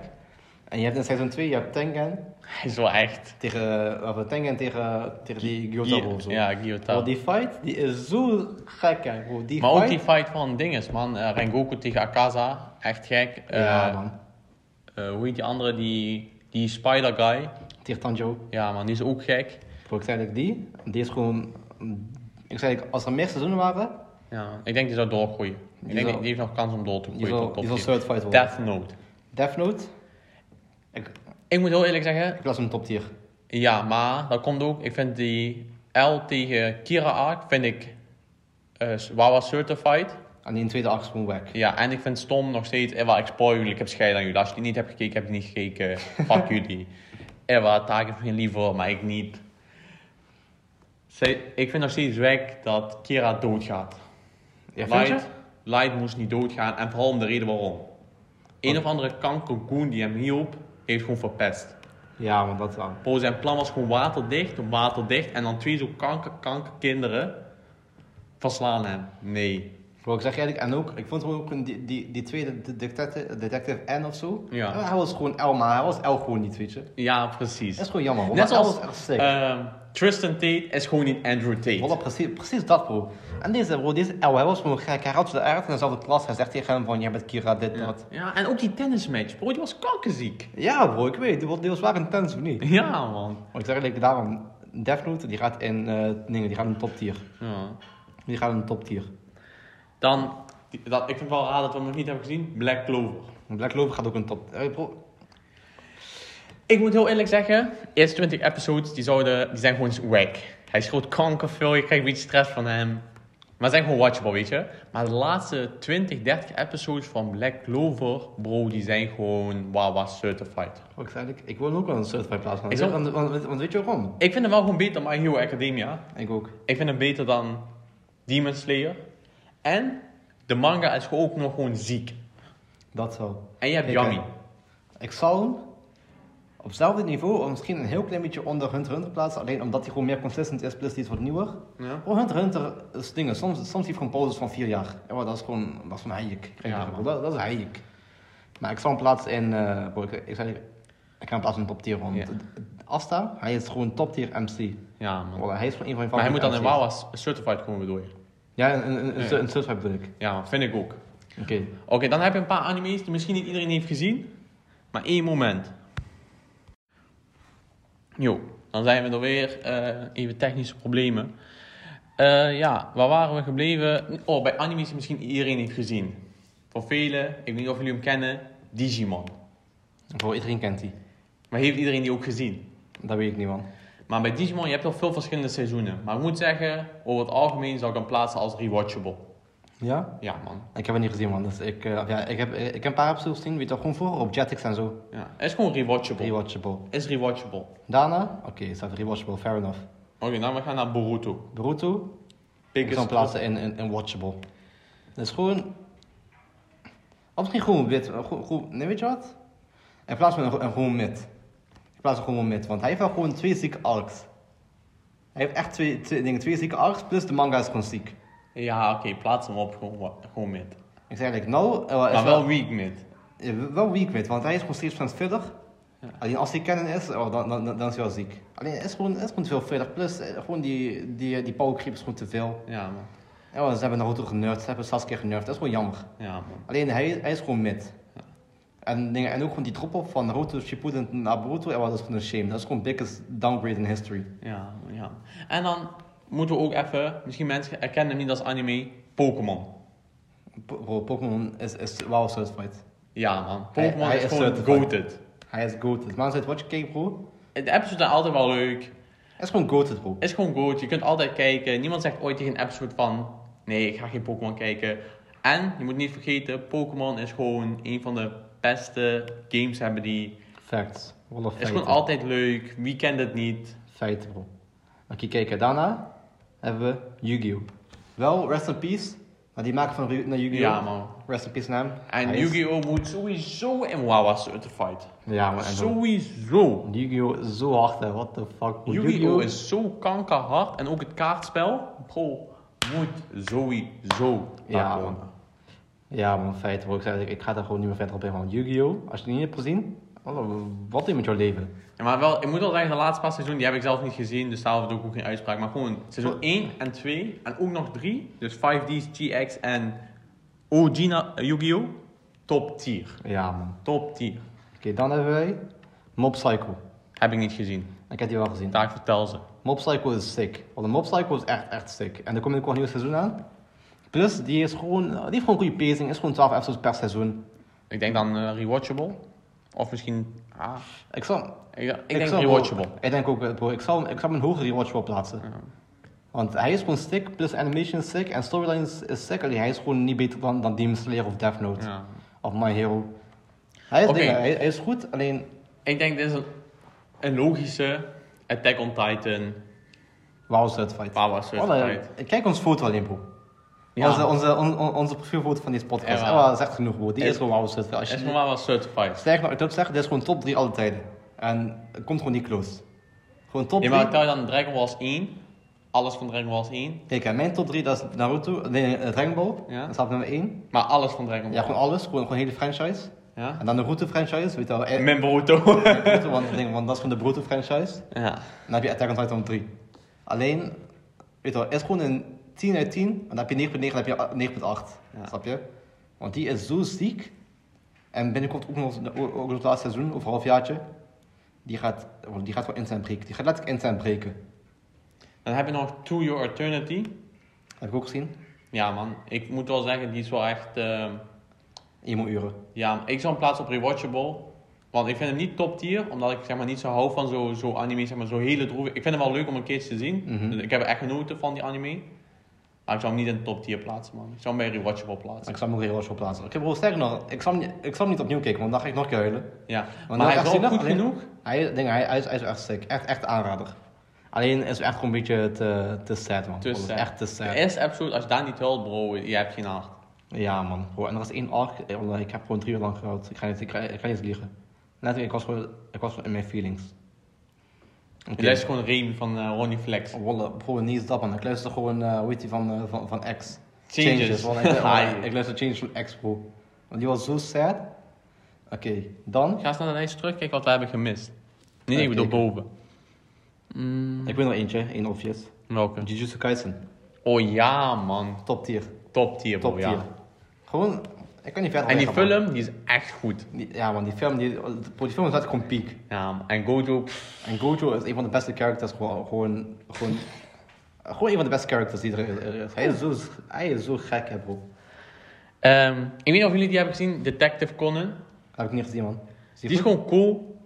En je hebt in seizoen 2, je hebt Tengen
Hij is wel echt.
tegen, eh, of Tengen tegen, tegen die Gyotaro of zo.
Ja,
Bro,
Gyotaro.
die fight, die is zo gek, hè, bro. Die
Maar ook
fight,
die fight van dinges man. Eh, Rengoku tegen Akaza. Echt gek.
Ja,
Eh,
man.
eh, hoe heet die andere? Die, die spider guy.
Tegen Tanjo.
Ja man, die is ook gek.
Bro, ik zei eigenlijk die. Die is gewoon... Ik zei eigenlijk, als er meer seizoenen waren,
Ja, ik denk die zou doorgroeien. Ik
Die
denk
zou-
die heeft nog kans om door te
die
groeien
zal,
tot
die zal
top
certified worden.
10. Death Note.
Death Note? Ik,
Ik moet heel eerlijk zeggen,
ik las hem top tier.
ja, maar dat komt ook. Ik vind die L tegen Kira arc vind ik eh Wawa certified.
En die in tweede acht is gewoon weg.
Ja, en ik vind stom nog steeds. Ewa, ik spoil jullie, ik heb scheid aan jullie. Als je die niet hebt gekeken, heb je niet gekeken. Fuck jullie. Eh, Ewa, taak heeft geen lief voor, maar ik niet. Zij- Ik vind nog steeds weg dat Kira doodgaat.
Ja, vind je?
Light, Light moest niet doodgaan en vooral om de reden waarom. Een of andere kankerkoen die hem hielp, heeft gewoon verpest.
Ja, want dat wel.
Bro, zijn plan was gewoon waterdicht, waterdicht en dan twee zo kanker, kankerkinderen verslaan hem. Nee.
Bro, ik zeg eigenlijk, en ook, ik vond gewoon ook een- die, die, die tweede de- detective, detective N of zo.
Ja.
Hij was gewoon L, maar hij was L gewoon niet, weet je.
Ja, precies.
Dat is gewoon jammer, want
Net
Net
zoals
was echt sick.
ehm, Tristan Tate is gewoon niet Andrew Tate.
Voilà, precies, precies dat, bro. En deze, bro, deze L, hij was gewoon gek. Hij had zo de aard in dezelfde klas. Hij zegt tegen hem van, jij bent Kira, dit, dat.
Ja, en ook die tennismatch, bro, die was kankerziek.
Ja, bro, ik weet. Die was, die was waar intens, of niet?
Ja, man.
Maar ik zeg eigenlijk, daarom, Death Note, die gaat in, eh dingen, die gaat in top tier.
Ja.
Die gaat in top tier.
Dan, die- dat, ik vind het wel raar dat we hem nog niet hebben gezien, Black Clover.
Black Clover gaat ook een top. eh, bro,
Ik moet heel eerlijk zeggen, de eerste 20 episodes die, zouden, die zijn gewoon wack. Hij schreeuwt kanker veel, je krijgt een beetje stress van hem. Maar ze zijn gewoon watchable, weet je. Maar de laatste 20, 30 episodes van Black Clover, bro, die zijn gewoon Wawa certified.
bro, ik zeg eigenlijk, ik wil ook wel een certified plaats
Ik
maken.
zou-
Want, want, want weet je waarom?
Ik vind hem wel gewoon beter dan My Hero Academia.
Ik ook.
Ik vind hem beter dan Demon Slayer. En de manga is ook nog gewoon ziek.
Dat wel.
En je hebt
Ik,
Yami.
eh, Ik zal hem op hetzelfde niveau, of misschien een heel klein beetje onder Hunter x Hunter plaatsen. Alleen omdat hij gewoon meer consistent is, plus die is wat nieuwer.
Ja.
Bro, Hunter x Hunter is dingen. Soms, soms heeft hij gewoon pauzes van vier jaar. Ja, maar dat is gewoon, dat is gewoon heik. Ik
Ja,
denk,
man.
dat, dat is heik. Maar ik zal hem plaatsen in, eh bro, ik, ik, zei, ik ga hem plaatsen in top tier. Want
Ja.
Asta, hij is gewoon top tier MC.
Ja, man.
Voilà, hij is gewoon een van je
Maar hij moet dan
een
in Wawa certified komen, bedoel je?
Ja, een, een,
Ja.
een, een subscribe bedoel ik.
Ja, vind ik ook.
Oké.
Oké, dan heb je een paar anime's die misschien niet iedereen heeft gezien, maar één moment. Jo, dan zijn we er weer. eh, even technische problemen. Eh, ja, waar waren we gebleven? Oh, bij anime's die misschien iedereen heeft gezien. Voor velen, ik weet niet of jullie hem kennen, Digimon.
Bro, iedereen kent die.
Maar heeft iedereen die ook gezien?
Dat weet ik niet, man.
Maar bij Digimon, je hebt wel veel verschillende seizoenen. Maar ik moet zeggen, over het algemeen zou ik hem plaatsen als rewatchable.
Ja?
Ja, man.
Ik heb het niet gezien, man. Dus ik, eh, ja, ik, heb, ik heb een paar episodes gezien, weet je toch, gewoon voor op Jetix en zo.
Ja. Het is gewoon rewatchable.
Rewatchable.
is rewatchable.
Daarna? Oké, het staat rewatchable, fair enough.
Oké, nou we gaan naar Boruto.
Boruto? Ik
Biggest
zou hem plaatsen in, in, in watchable. Dat is gewoon... Of misschien gewoon wit. Gewoon, gewoon- nee, weet je wat? In plaats van een, een gewoon mid. Ik plaats hem gewoon mid, want hij heeft wel gewoon twee zieke arcs. Hij heeft echt twee, twee dingen, twee zieke arcs, plus de manga is gewoon ziek.
Ja, oké, plaats hem op gewoon, wa- gewoon mid.
Ik zeg eigenlijk, nou... eh, is
Maar wel weak mid.
Ja, Eh, wel weak mid, want hij is gewoon steeds van het verder. Alleen als hij kennen is, oh, dan, dan, dan dan is hij wel ziek. Alleen het is gewoon, het is gewoon te veel verder. Plus, eh, gewoon die, eh, die, die power creep is gewoon te veel.
Ja, man.
Ja, ze hebben Naruto genurfd, ze hebben Sasuke genurfd, dat is gewoon jammer.
Ja, man.
Alleen hij, hij is gewoon mid. En, dingen- en ook gewoon die drop-off van Naruto Shippuden naar Boruto, ja, dat is gewoon een shame. Dat is gewoon biggest downgrade in history.
Ja, ja. En dan moeten we ook even, misschien mensen herkennen hem niet als anime, Pokémon.
Po- bro, Pokémon is, is wel certified.
Ja, man.
Hij-
Pokémon
hij
is,
is
gewoon
certified.
goated.
Hij is goated. Maar als wat je kijkt bro,
De apps zijn altijd wel leuk.
hij is gewoon goated bro.
Is gewoon goed. Je kunt altijd kijken. Niemand zegt ooit tegen een episode van... Nee, ik ga geen Pokémon kijken. En, je moet niet vergeten... Pokémon is gewoon een van de beste games hebben die...
Facts. Wel of
Is gewoon
feiten.
altijd leuk. Wie kent het niet?
Feiten, bro. Oké, kijk, hè, daarna hebben we Yu-Gi-Oh! Wel, rest in peace, maar die maken van Ru- naar Yu-Gi-Oh!
Ja, man.
Rest in peace naar hem.
En
Hij is-
Yu-Gi-Oh! moet sowieso in Wawa certified.
Ja, man. en dan-
Sowieso.
Yu-Gi-Oh! is zo hard, hè. What the fuck, bro.
Yu-Gi-Oh! is zo kankerhard. En ook het kaartspel. Bro, moet sowieso
Ja,
daar
man.
komen.
Ja, man, feit, bro. Ik, zei, ik ga daar gewoon niet meer verder op in, want Yu-Gi-Oh! Als je die niet hebt gezien, wat- wat doe je met jouw leven?
Ja, maar wel, ik moet wel zeggen, de laatste paar seizoenen, die heb ik zelf niet gezien, dus daar doe ik ook geen uitspraak. Maar gewoon seizoen 1 en 2 en ook nog 3, dus 5D's, GX en OG na- Yu-Gi-Oh! Top tier.
Ja, man.
Top tier.
Oké, dan hebben wij Mob Psycho.
Heb ik niet gezien.
Ik heb die wel gezien.
Daar vertel ze.
Mob Psycho is sick. Want de Mob Psycho is echt, echt sick. En er komt ook een nieuw seizoen aan. Plus, die, is gewoon, nou, die heeft gewoon goede pacing. is gewoon 12 episodes per seizoen.
Ik denk dan eh, rewatchable. Of misschien. Ah,
Ik zal,
ik, ik denk
zal
rewatchable.
Wel, ik denk ook, eh, bro. Ik zal, ik zal hem hoger rewatchable plaatsen. Want hij is gewoon sick, plus animation is sick. En storyline is, is sick. Alleen hij is gewoon niet beter dan, dan Demon Slayer of Death Note.
Ja.
Of My Hero. Hij is,
Oké.
dingen, hij, hij is goed, alleen...
Ik denk dit is een, een logische Attack on Titan.
Wauw, certified.
Wawa
Alle,
certified.
kijk ons foto alleen, bro.
Ja.
Onze, onze, on- on- onze profielfoto van deze podcast.
Ja.
Ja. Oh, dat is echt genoeg, bro. Die
Is-
is gewoon wauw, certified. Als
Is
je,
gewoon wel certified.
Sterker nog, ik wil zeggen, dit is gewoon top 3 alle tijden. En het komt gewoon niet close. Gewoon top
Je
3.
maakt tel je dan Dragon Balls 1. Alles van Dragon Balls 1.
Kijk, hè, mijn top 3 dat is Naruto, nee, eh, Dragon Ball.
Ja.
Dat staat nummer 1.
Maar alles van Dragon Ball.
Ja, gewoon alles, gewoon, gewoon hele franchise.
Ja?
En dan de Naruto franchise, weet je wel. eh,
Mijn Boruto.
Naruto, want, ding, want dat is van de Naruto franchise.
ja.
En dan heb je Attack on Titan op 3. Alleen, weet je wel, het is gewoon een 10 uit 10. En dan heb je 9.9 en dan heb je 9.8.
Ja.
Snap je? Want die is zo ziek. En binnenkort ook nog, ook nog het laatste seizoen, over een halfjaartje. Die gaat, die gaat gewoon instant breken. Die gaat letterlijk instant breken.
Dan heb je nog To Your Eternity.
Heb ik ook gezien.
Ja man, ik moet wel zeggen, die is wel echt... ehm,
Emo uren.
ja, ik zou hem plaatsen op Rewatchable. Want ik vind hem niet top tier, omdat ik zeg maar niet zo hou van zo'n zo anime, zeg maar zo hele droevig. Ik vind hem wel leuk om een keertje te zien.
Mhm.
Dus ik heb echt genoten van die anime. Maar ik zou hem niet in top tier plaatsen man. Ik zou hem bij Rewatchable plaatsen.
Ik zal hem ook heel erg op plaatsen. Ik heb wel sterker nog, ik zal, hem, niet- ik zal hem niet opnieuw kijken, want dan ga ik nog een keer huilen.
Ja. Maar,
dat echt
hij is wel
zinnig,
goed
alleen-
genoeg.
Hij, ding, hij, hij, is, hij is echt sick. Echt, echt aanrader. Alleen is het echt gewoon een beetje te, te sad, man.
Te
Het is
sad.
Echt te
De
sad.
eerste episode, als je daar niet huilt bro, je hebt geen hart.
Ja, man. Bro, en er is één arc, eh, omdat ik heb gewoon drie uur lang gehuild. Ik ga niet, ik ga, ik ga niet liegen. Letterlijk, ik was gewoon, ik was gewoon in mijn feelings. Oké.
Je luistert gewoon Remy van eh, Ronnie Flex.
Wallah, bro, niet eens dat, man. Ik luister gewoon, eh hoe heet die, van, eh, van, van X.
Changes.
want ik,
Hai.
ik luister Changes van X, bro. Want die was zo sad. Oké, dan.
Ga eens naar de lijst terugkijken wat we hebben gemist. Nee,
Ja,
ik bedoel
kijken.
boven. Mm,
Ik weet nog eentje, één obvious.
welke?
Jujutsu Kaisen.
Oh ja, man.
Top tier.
Top tier, bro,
Top
Oh, ja.
tier. Gewoon, ik kan niet verder
En die
zeggen, man.
film, die is echt goed.
Die- ja, man, die film, die, bro, die film is echt gewoon piek.
Ja, man. en Gojo, pff,
En Gojo is een van de beste characters, gewoon, gewoon, gewoon, gewoon een van de beste characters die er er is. Hij is zo, hij is zo gek, hè, bro.
ehm, ik weet niet of jullie die hebben gezien, Detective Conan.
Dat heb ik niet gezien, man.
Die is
goed?
gewoon cool.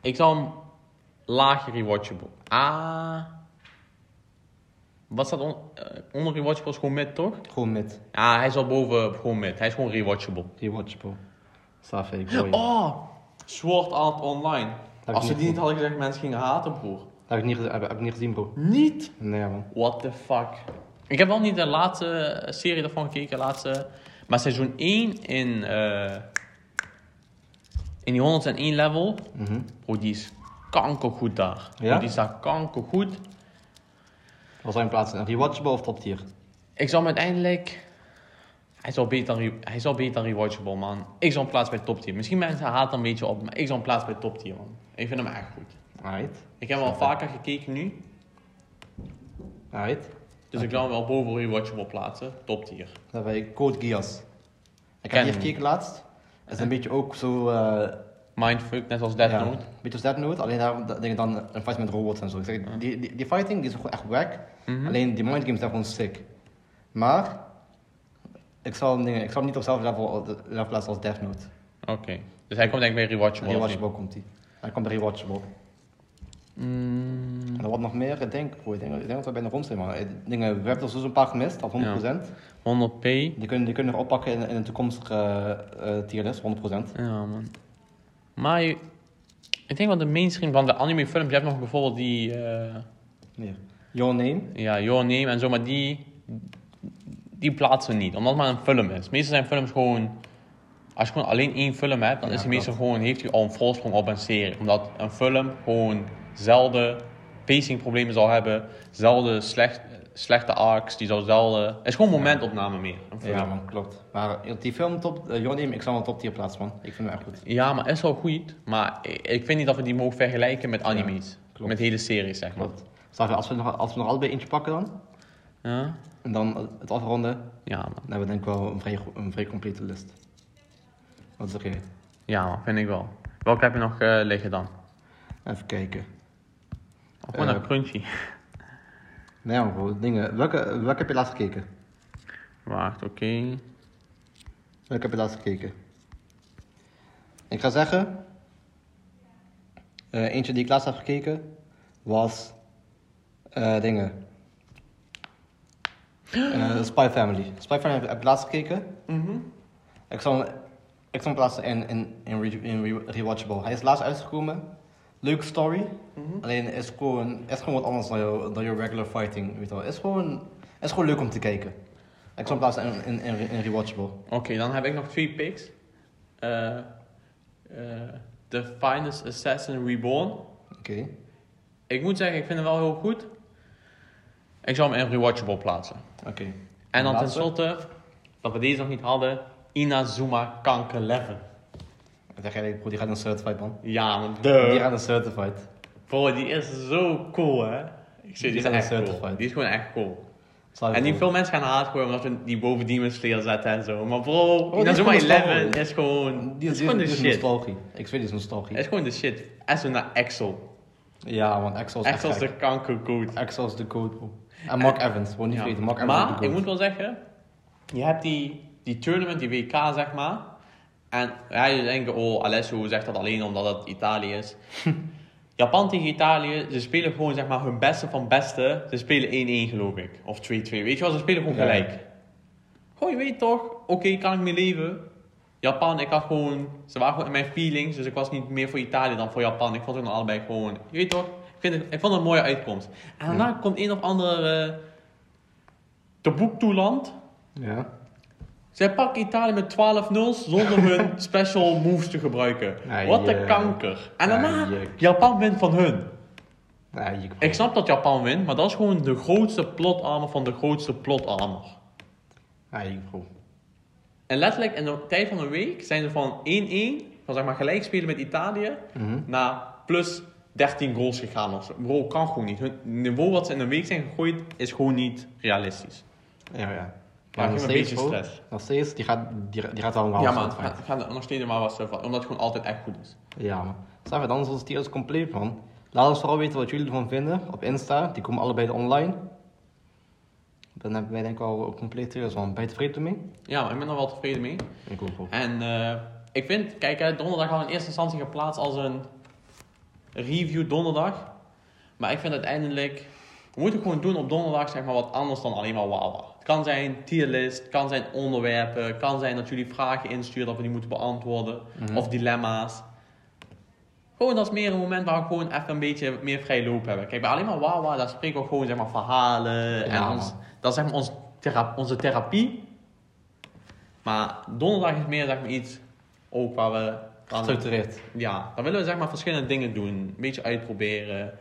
Ik zou hem laag rewatchable. Ah. Wat staat on, eh, onder rewatchable is gewoon mid, toch?
Gewoon met
Ja, hij is al boven gewoon mid. Hij is gewoon rewatchable.
rewatchable. Safe, ik hoor je.
Oh! Sword Art Online.
ik
Als
niet
ze die niet
gezien.
hadden gezegd, mensen gingen haten, broer.
Heb ik niet, geze- heb, heb ik niet gezien, bro.
Niet?
Nee, man.
What the fuck? Ik heb wel niet de laatste eh, serie daarvan gekeken, laatste, maar seizoen 1 in, eh, in die 101 level,
Mhm.
bro, die is kankergoed daar. Bro,
Ja?
die is daar kankergoed.
Wat zijn plaatsen? Een Rewatchable of top tier?
Ik zou hem uiteindelijk, hij is al beter dan, re- hij is al beter dan rewatchable, man. Ik zou hem plaatsen bij top tier. Misschien mensen haat hem een beetje op, maar ik zou hem plaatsen bij top tier, man. Ik vind hem echt goed.
Alright.
Ik heb hem al vaker gekeken nu,
Alright.
dus ik zou hem wel boven rewatchable plaatsen, top tier.
Dan hebben wij Code Geass. Ik
Ken
heb die
hem.
gekeken laatst. Het is een beetje ook zo... eh,
Mindfuck, net als Dead
ja,
Note.
Een beetje als Death Note, alleen daar denk ik dan een fight met robots en zo. Ik zeg, die, die, die fighting die is gewoon echt wack.
Mhm.
Alleen die mindgames zijn gewoon sick. Maar... Ik zal, hem dingen, ik zal hem niet op hetzelfde level, eh, level plaatsen als Death Note.
Oké. Dus hij komt denk ik bij Rewatchable.
Rewatchable komt die. Hij komt bij Rewatchable.
Mm,
En dan wat nog meer, ik denk, broer, ik denk, ik denk dat we bijna rond zijn, man. Ik denk, eh, We hebben er zo'n paar gemist, dat 100%.
100p.
Die kunnen, die kunnen we oppakken in, in een toekomstige eh, eh, tierlist, 100%.
Ja, man. Maar je- ik denk wel de mainstream van de anime films. Je hebt nog bijvoorbeeld die... eh,
Meer. Your Name.
ja, Your Name en zo. Maar die... Die plaatsen niet. Omdat het maar een film is. Meestal zijn films gewoon... Als je gewoon alleen één film hebt, dan
Ja,
is die meestal gewoon, heeft hij al een voorsprong op een serie. Omdat een film gewoon zelden pacingproblemen zal hebben. Zelden slecht, slechte arcs. Die zal zelden... Het is gewoon momentopname meer. Een film.
Ja, man, klopt. Maar die film, top, eh, Your Name, ik zal hem top tier plaatsen, man. Ik vind hem echt goed.
Ja, maar is wel goed. Maar ik, ik vind niet dat we die mogen vergelijken met anime's.
klopt.
met hele series, zeg maar.
Klopt. Zal ik- als, we nog, als we nog allebei eentje pakken dan,
Ja,
en dan eh, het afronden, dan
ja man.
hebben we denk ik wel een vrij, go- een vrij complete list. Wat zeg jij?
Ja, man, vind ik wel. Welke heb je nog eh, liggen dan?
Even kijken.
Of Gewoon
Eh.
een crunchy.
Nee, man, bro, Nou, dingen. Welke, welke heb je laatst gekeken?
Wacht, oké.
Welke heb je laatst gekeken? Ik ga zeggen, eh, eentje die ik laatst heb gekeken was eh, dingen. Eh, Spy Family. Spy Family heb- heb ik laatst gekeken. Ik zal hem- ik zal hem plaatsen in, in, in, re- in re- Rewatchable. Hij is laatst uitgekomen. Leuke story. Alleen is gewoon, is gewoon wat anders dan jouw dan jouw regular fighting. Weet je wel. Is gewoon, is gewoon leuk om te kijken. Ik zal hem plaatsen in, in, in, in Rewatchable.
Oké, dan heb ik nog twee picks. Eh, eh, The Finest Assassin Reborn.
Oké.
Ik moet zeggen, ik vind hem wel heel goed. Ik zou hem in Rewatchable plaatsen.
Oké.
En dan
Laatste.
tenslotte, dat we deze nog niet hadden, Inazuma Kanker 11.
Ik dacht eigenlijk, broer, die gaat een certified man.
Ja, man,
Die
duh.
gaat een certified.
Bro, die is zo cool, hè? Ik zeg, die,
zijn
is echt
ontzettend
cool.
fijn.
Die is gewoon echt cool.
Zal ik
en die
doen.
veel mensen gaan haat gooien omdat we die boven Demon Slayer zetten en zo. Maar bro,
die
oh,
is
Inazuma
gewoon
11
nostalgie.
is gewoon...
Die
is
is,
gewoon de
die is
shit.
nostalgie. Ik weet die is nostalgie.
Het is gewoon de shit. En zo naar Axel.
Ja man, Axel is
Axel is
echt gek.
de kankergoed.
Axel is de code bro. En Mark Evans, gewoon niet
Ja.
vergeten. Mark Evans is de
Maar,
goat.
ik moet wel zeggen, je hebt die, die tournament, die WK zeg maar. En ja, je denkt, oh, Alessio zegt dat alleen omdat het Italië is. Japan tegen Italië, ze spelen gewoon zeg maar hun beste van beste. Ze spelen 1-1 geloof ik. Of 2-2, weet je wel, ze spelen gewoon
Ja.
gelijk. Gewoon, je weet toch, oké, kan ik mee leven. Japan, ik had gewoon, ze waren gewoon in mijn feelings, dus ik was niet meer voor Italië dan voor Japan. Ik vond hun allebei gewoon, je weet toch, ik, vind het, ik vond het een mooie uitkomst. En daarna komt een of andere eh Tobuktu-land.
Ja.
Zij pakken Italië met 12 0's zonder hun special moves te gebruiken.
Ai,
Wat een
eh.
kanker. En daarna,
Ai, eh.
Japan wint van hun.
Nee, je-
Ik snap dat Japan wint, maar dat is gewoon de grootste plotarmer van de grootste plotarmer.
Nee, je- bro.
En letterlijk in de tijd van een week zijn ze van 1-1, van zeg maar gelijk spelen met Italië,
Mhm.
naar plus 13 goals gegaan. of zo. Bro, kan gewoon niet. Hun niveau wat ze in een week zijn gegooid is gewoon niet realistisch.
Ja, ja.
geef me een beetje
bro,
stress.
Nog steeds, die gaat, die, die gaat wel een
ja,
halve
maar het
certified.
gaat- gaat er nog steeds maar wat van, omdat het gewoon altijd echt goed is.
Ja man. Snap je, dan is onze tier is compleet man. Laat ons vooral weten wat jullie ervan vinden op Insta. Die komen allebei online. Dan hebben wij denk ik al een compleet tier, man. Ben je tevreden mee?
Ja, maar ik ben er wel tevreden mee.
Ik ook bro.
En eh, ik vind, kijk, hè, donderdag hadden we in eerste instantie geplaatst als een review donderdag. Maar ik vind uiteindelijk, We moeten gewoon doen op donderdag zeg maar, wat anders dan alleen maar Wawa. Het kan zijn tierlist, het kan zijn onderwerpen, het kan zijn dat jullie vragen insturen dat we die moeten beantwoorden.
Mhm.
Of dilemma's. Gewoon dat is meer een moment waar we gewoon even een beetje meer vrij loop hebben. Kijk, bij alleen maar Wawa, daar spreken we gewoon zeg maar, verhalen.
Ja,
En ons, dat is zeg maar ons thera- onze therapie. Maar donderdag is meer zeg maar, iets ook waar we... aan-
Gestructureerd.
ja, dan willen we zeg maar verschillende dingen doen. Een beetje uitproberen.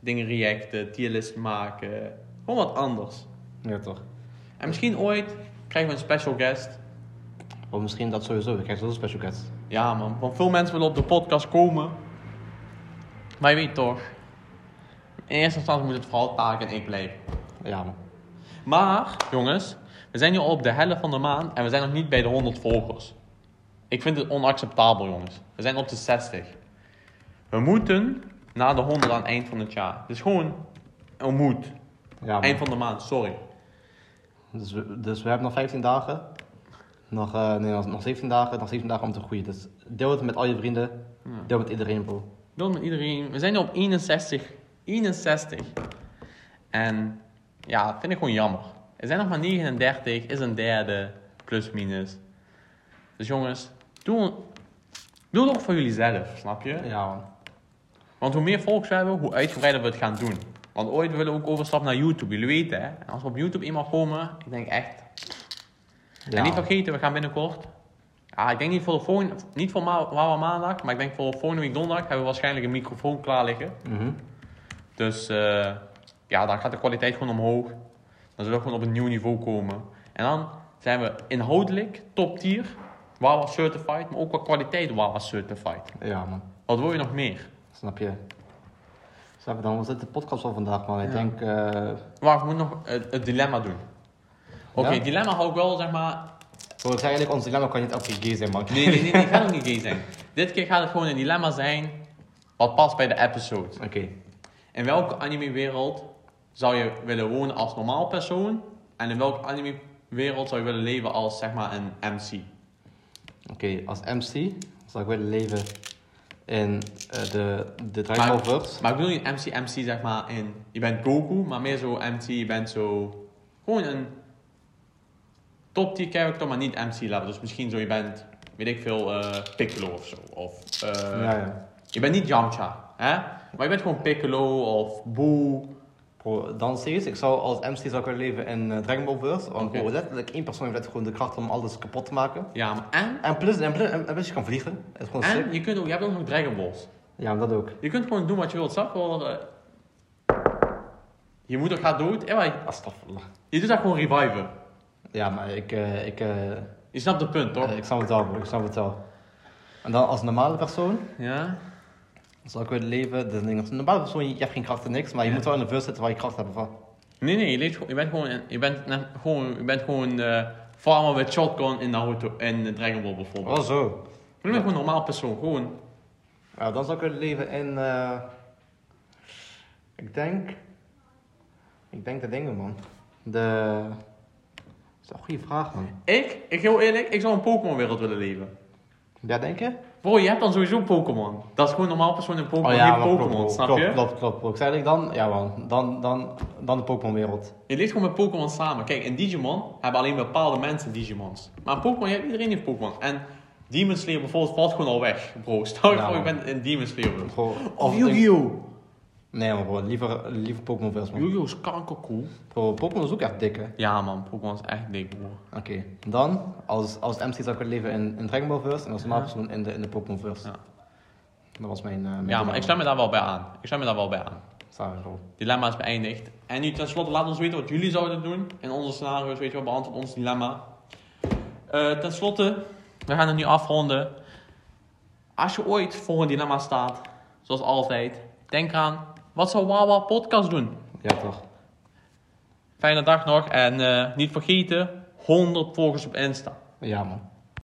Dingen reacten, tierlist maken. Gewoon wat anders.
Ja, toch.
En misschien ooit krijgen we een special guest.
Of misschien dat sowieso. Ik krijg sowieso special guests.
Ja man, want veel mensen willen op de podcast komen. Maar je weet toch. In eerste instantie moet het vooral Taak en ik blijven.
Ja, man.
Maar, jongens. We zijn nu al op de helft van de maand en we zijn nog niet bij de 100 volgers. Ik vind het onacceptabel, jongens. We zijn op de 60. We moeten naar de 100 aan het eind van het jaar. Dus gewoon een moet.
Ja, man.
Eind van de maand, sorry.
Dus, we, dus we hebben nog 15 dagen. Nog, eh, nee, nog, nog 17 dagen. Nog 17 dagen om te groeien. Dus deel het met al je vrienden.
Ja.
Deel het met iedereen, bro.
Doe met iedereen. We zijn nu op 61. 61. En ja, dat vind ik gewoon jammer. Er zijn nog maar 39, is een derde, plus minus. Dus jongens, doe, doe het ook voor jullie zelf, snap je?
Ja, man.
Want hoe meer volgers we hebben, hoe uitgebreider we het gaan doen. Want ooit willen we ook overstappen naar YouTube, jullie weten hè. En als we op YouTube eenmaal komen, ik denk echt.
Ja,
En niet
man.
vergeten, we gaan binnenkort. Ah, ik denk niet voor de volgende, niet voor ma- Wawa maandag, maar ik denk voor volgende week donderdag hebben we waarschijnlijk een microfoon klaar liggen.
Mhm.
Dus eh, ja, dan gaat de kwaliteit gewoon omhoog. Dan zullen we gewoon op een nieuw niveau komen. En dan zijn we inhoudelijk top tier, Wawa certified, maar ook qua kwaliteit Wawa certified.
Ja, man.
Wat wil je nog meer?
Snap je? Snap je dan? Was dit de podcast van vandaag, man? Ik
Ja.
denk... eh,
Wacht, we moeten nog het, het dilemma doen. Oké,
Ja?
het dilemma hou ik wel, zeg maar...
Bro, het is eigenlijk ons dilemma kan niet elke keer gay zijn, man.
Nee, nee, nee, nee, gaat ook niet gay zijn. Dit keer gaat het gewoon een dilemma zijn wat past bij de episode.
Oké.
In welke anime-wereld zou je willen wonen als normaal persoon? En in welke anime-wereld zou je willen leven als, zeg maar, een MC?
Oké, als MC zou ik willen leven in eh, de, de Dragon
Maar-
Ball Verse.
Maar ik bedoel niet MC, MC zeg maar in... Je bent Goku, maar meer zo MC, je bent zo... Gewoon een top tier character, maar niet MC level. Dus misschien zo, je bent, weet ik veel, eh, Piccolo of zo. Of, eh,
ja, ja.
Je bent niet Yamcha, hè? Maar je bent gewoon Piccolo of Boo.
Bro, dan serieus, ik zou als MC zou ik willen leven in eh, Dragon Ball Verse. Want
Oké.
bro, letterlijk één persoon heeft gewoon de kracht om alles kapot te maken.
Ja, maar en...
En plus, en plus, en, en plus je kan vliegen. Het is gewoon Oh, sick.
En je, kunt ook, je hebt ook nog Dragon Balls.
Ja, maar dat ook.
Je kunt gewoon doen wat je wilt. Snap je wel? eh, je moeder gaat dood. Ja, maar
Astagfirullah.
je doet dat gewoon reviven.
Ja, maar ik, eh, ik, eh,
Je snapt het punt, toch?
eh, ik snap het wel, bro. Ik snap het wel. En dan als normale persoon
Ja.
zou ik willen leven... Dat ding, als een normale persoon, je hebt geen krachten, niks. Maar je moet wel in de verse zitten waar je kracht hebt van.
Nee, nee, je, leeft, gewoon- je bent gewoon, je bent, net gewoon, je bent gewoon eh, farmer met shotgun in Naruto en Dragon Ball bijvoorbeeld.
Oh, zo.
Je bent gewoon een normaal persoon, gewoon.
Ja, Nou, dan zou ik willen leven in. eh, ik denk. Ik denk de dingen, man. De. Dat is een goede vraag, man.
Ik, ik heel eerlijk, ik zou een Pokémon-wereld willen leven.
Ja, denk je?
Bro, je hebt dan sowieso Pokémon. Dat is gewoon een normaal persoon in Pokémon, niet
Oh maar klopt,
Pokémon,
klopt,
snap
klopt,
je?
Klopt, klopt, klopt. Zei ik dan? Ja, man. Dan, dan, dan de Pokémon-wereld.
Je leeft gewoon met Pokémon samen. Kijk, in Digimon hebben alleen bepaalde mensen Digimons. Maar in Pokémon, je hebt- iedereen heeft Pokémon. En Demon Slayer bijvoorbeeld valt gewoon al weg, bro. Stel je
Ja,
voor, je
man.
bent in Demon Slayer. bro.
Gewoon-
Of
ik denk-
Oh, Yu-Gi-Oh!
Nee, man, bro. Liever, liever Pokémon-verse, man.
Yu-Gi-Oh is kankercool.
Bro, Pokémon is ook echt dikke.
Ja man, Pokémon is echt dik, bro.
Oké. Dan, als, als MC zou ik willen leven in, in Dragon Ball-verse. En als normaal persoon in de, in de Pokémon-verse.
Ja.
Dat was mijn. eh, mijn
Ja, maar ik
dilemma.
stem me daar wel bij aan. Ik stem me daar wel bij aan.
Sorry, bro.
Dilemma is beëindigd. En nu tenslotte, laat ons weten wat jullie zouden doen. In onze scenario's, weet je wel, beantwoord ons dilemma. Eh ten slotte, we gaan het nu afronden. Als je ooit voor een dilemma staat, zoals altijd, denk aan, wat zou Wawa Podcast doen?
Ja, toch.
Fijne dag nog en eh, niet vergeten, 100 volgers op Insta.
Ja, man.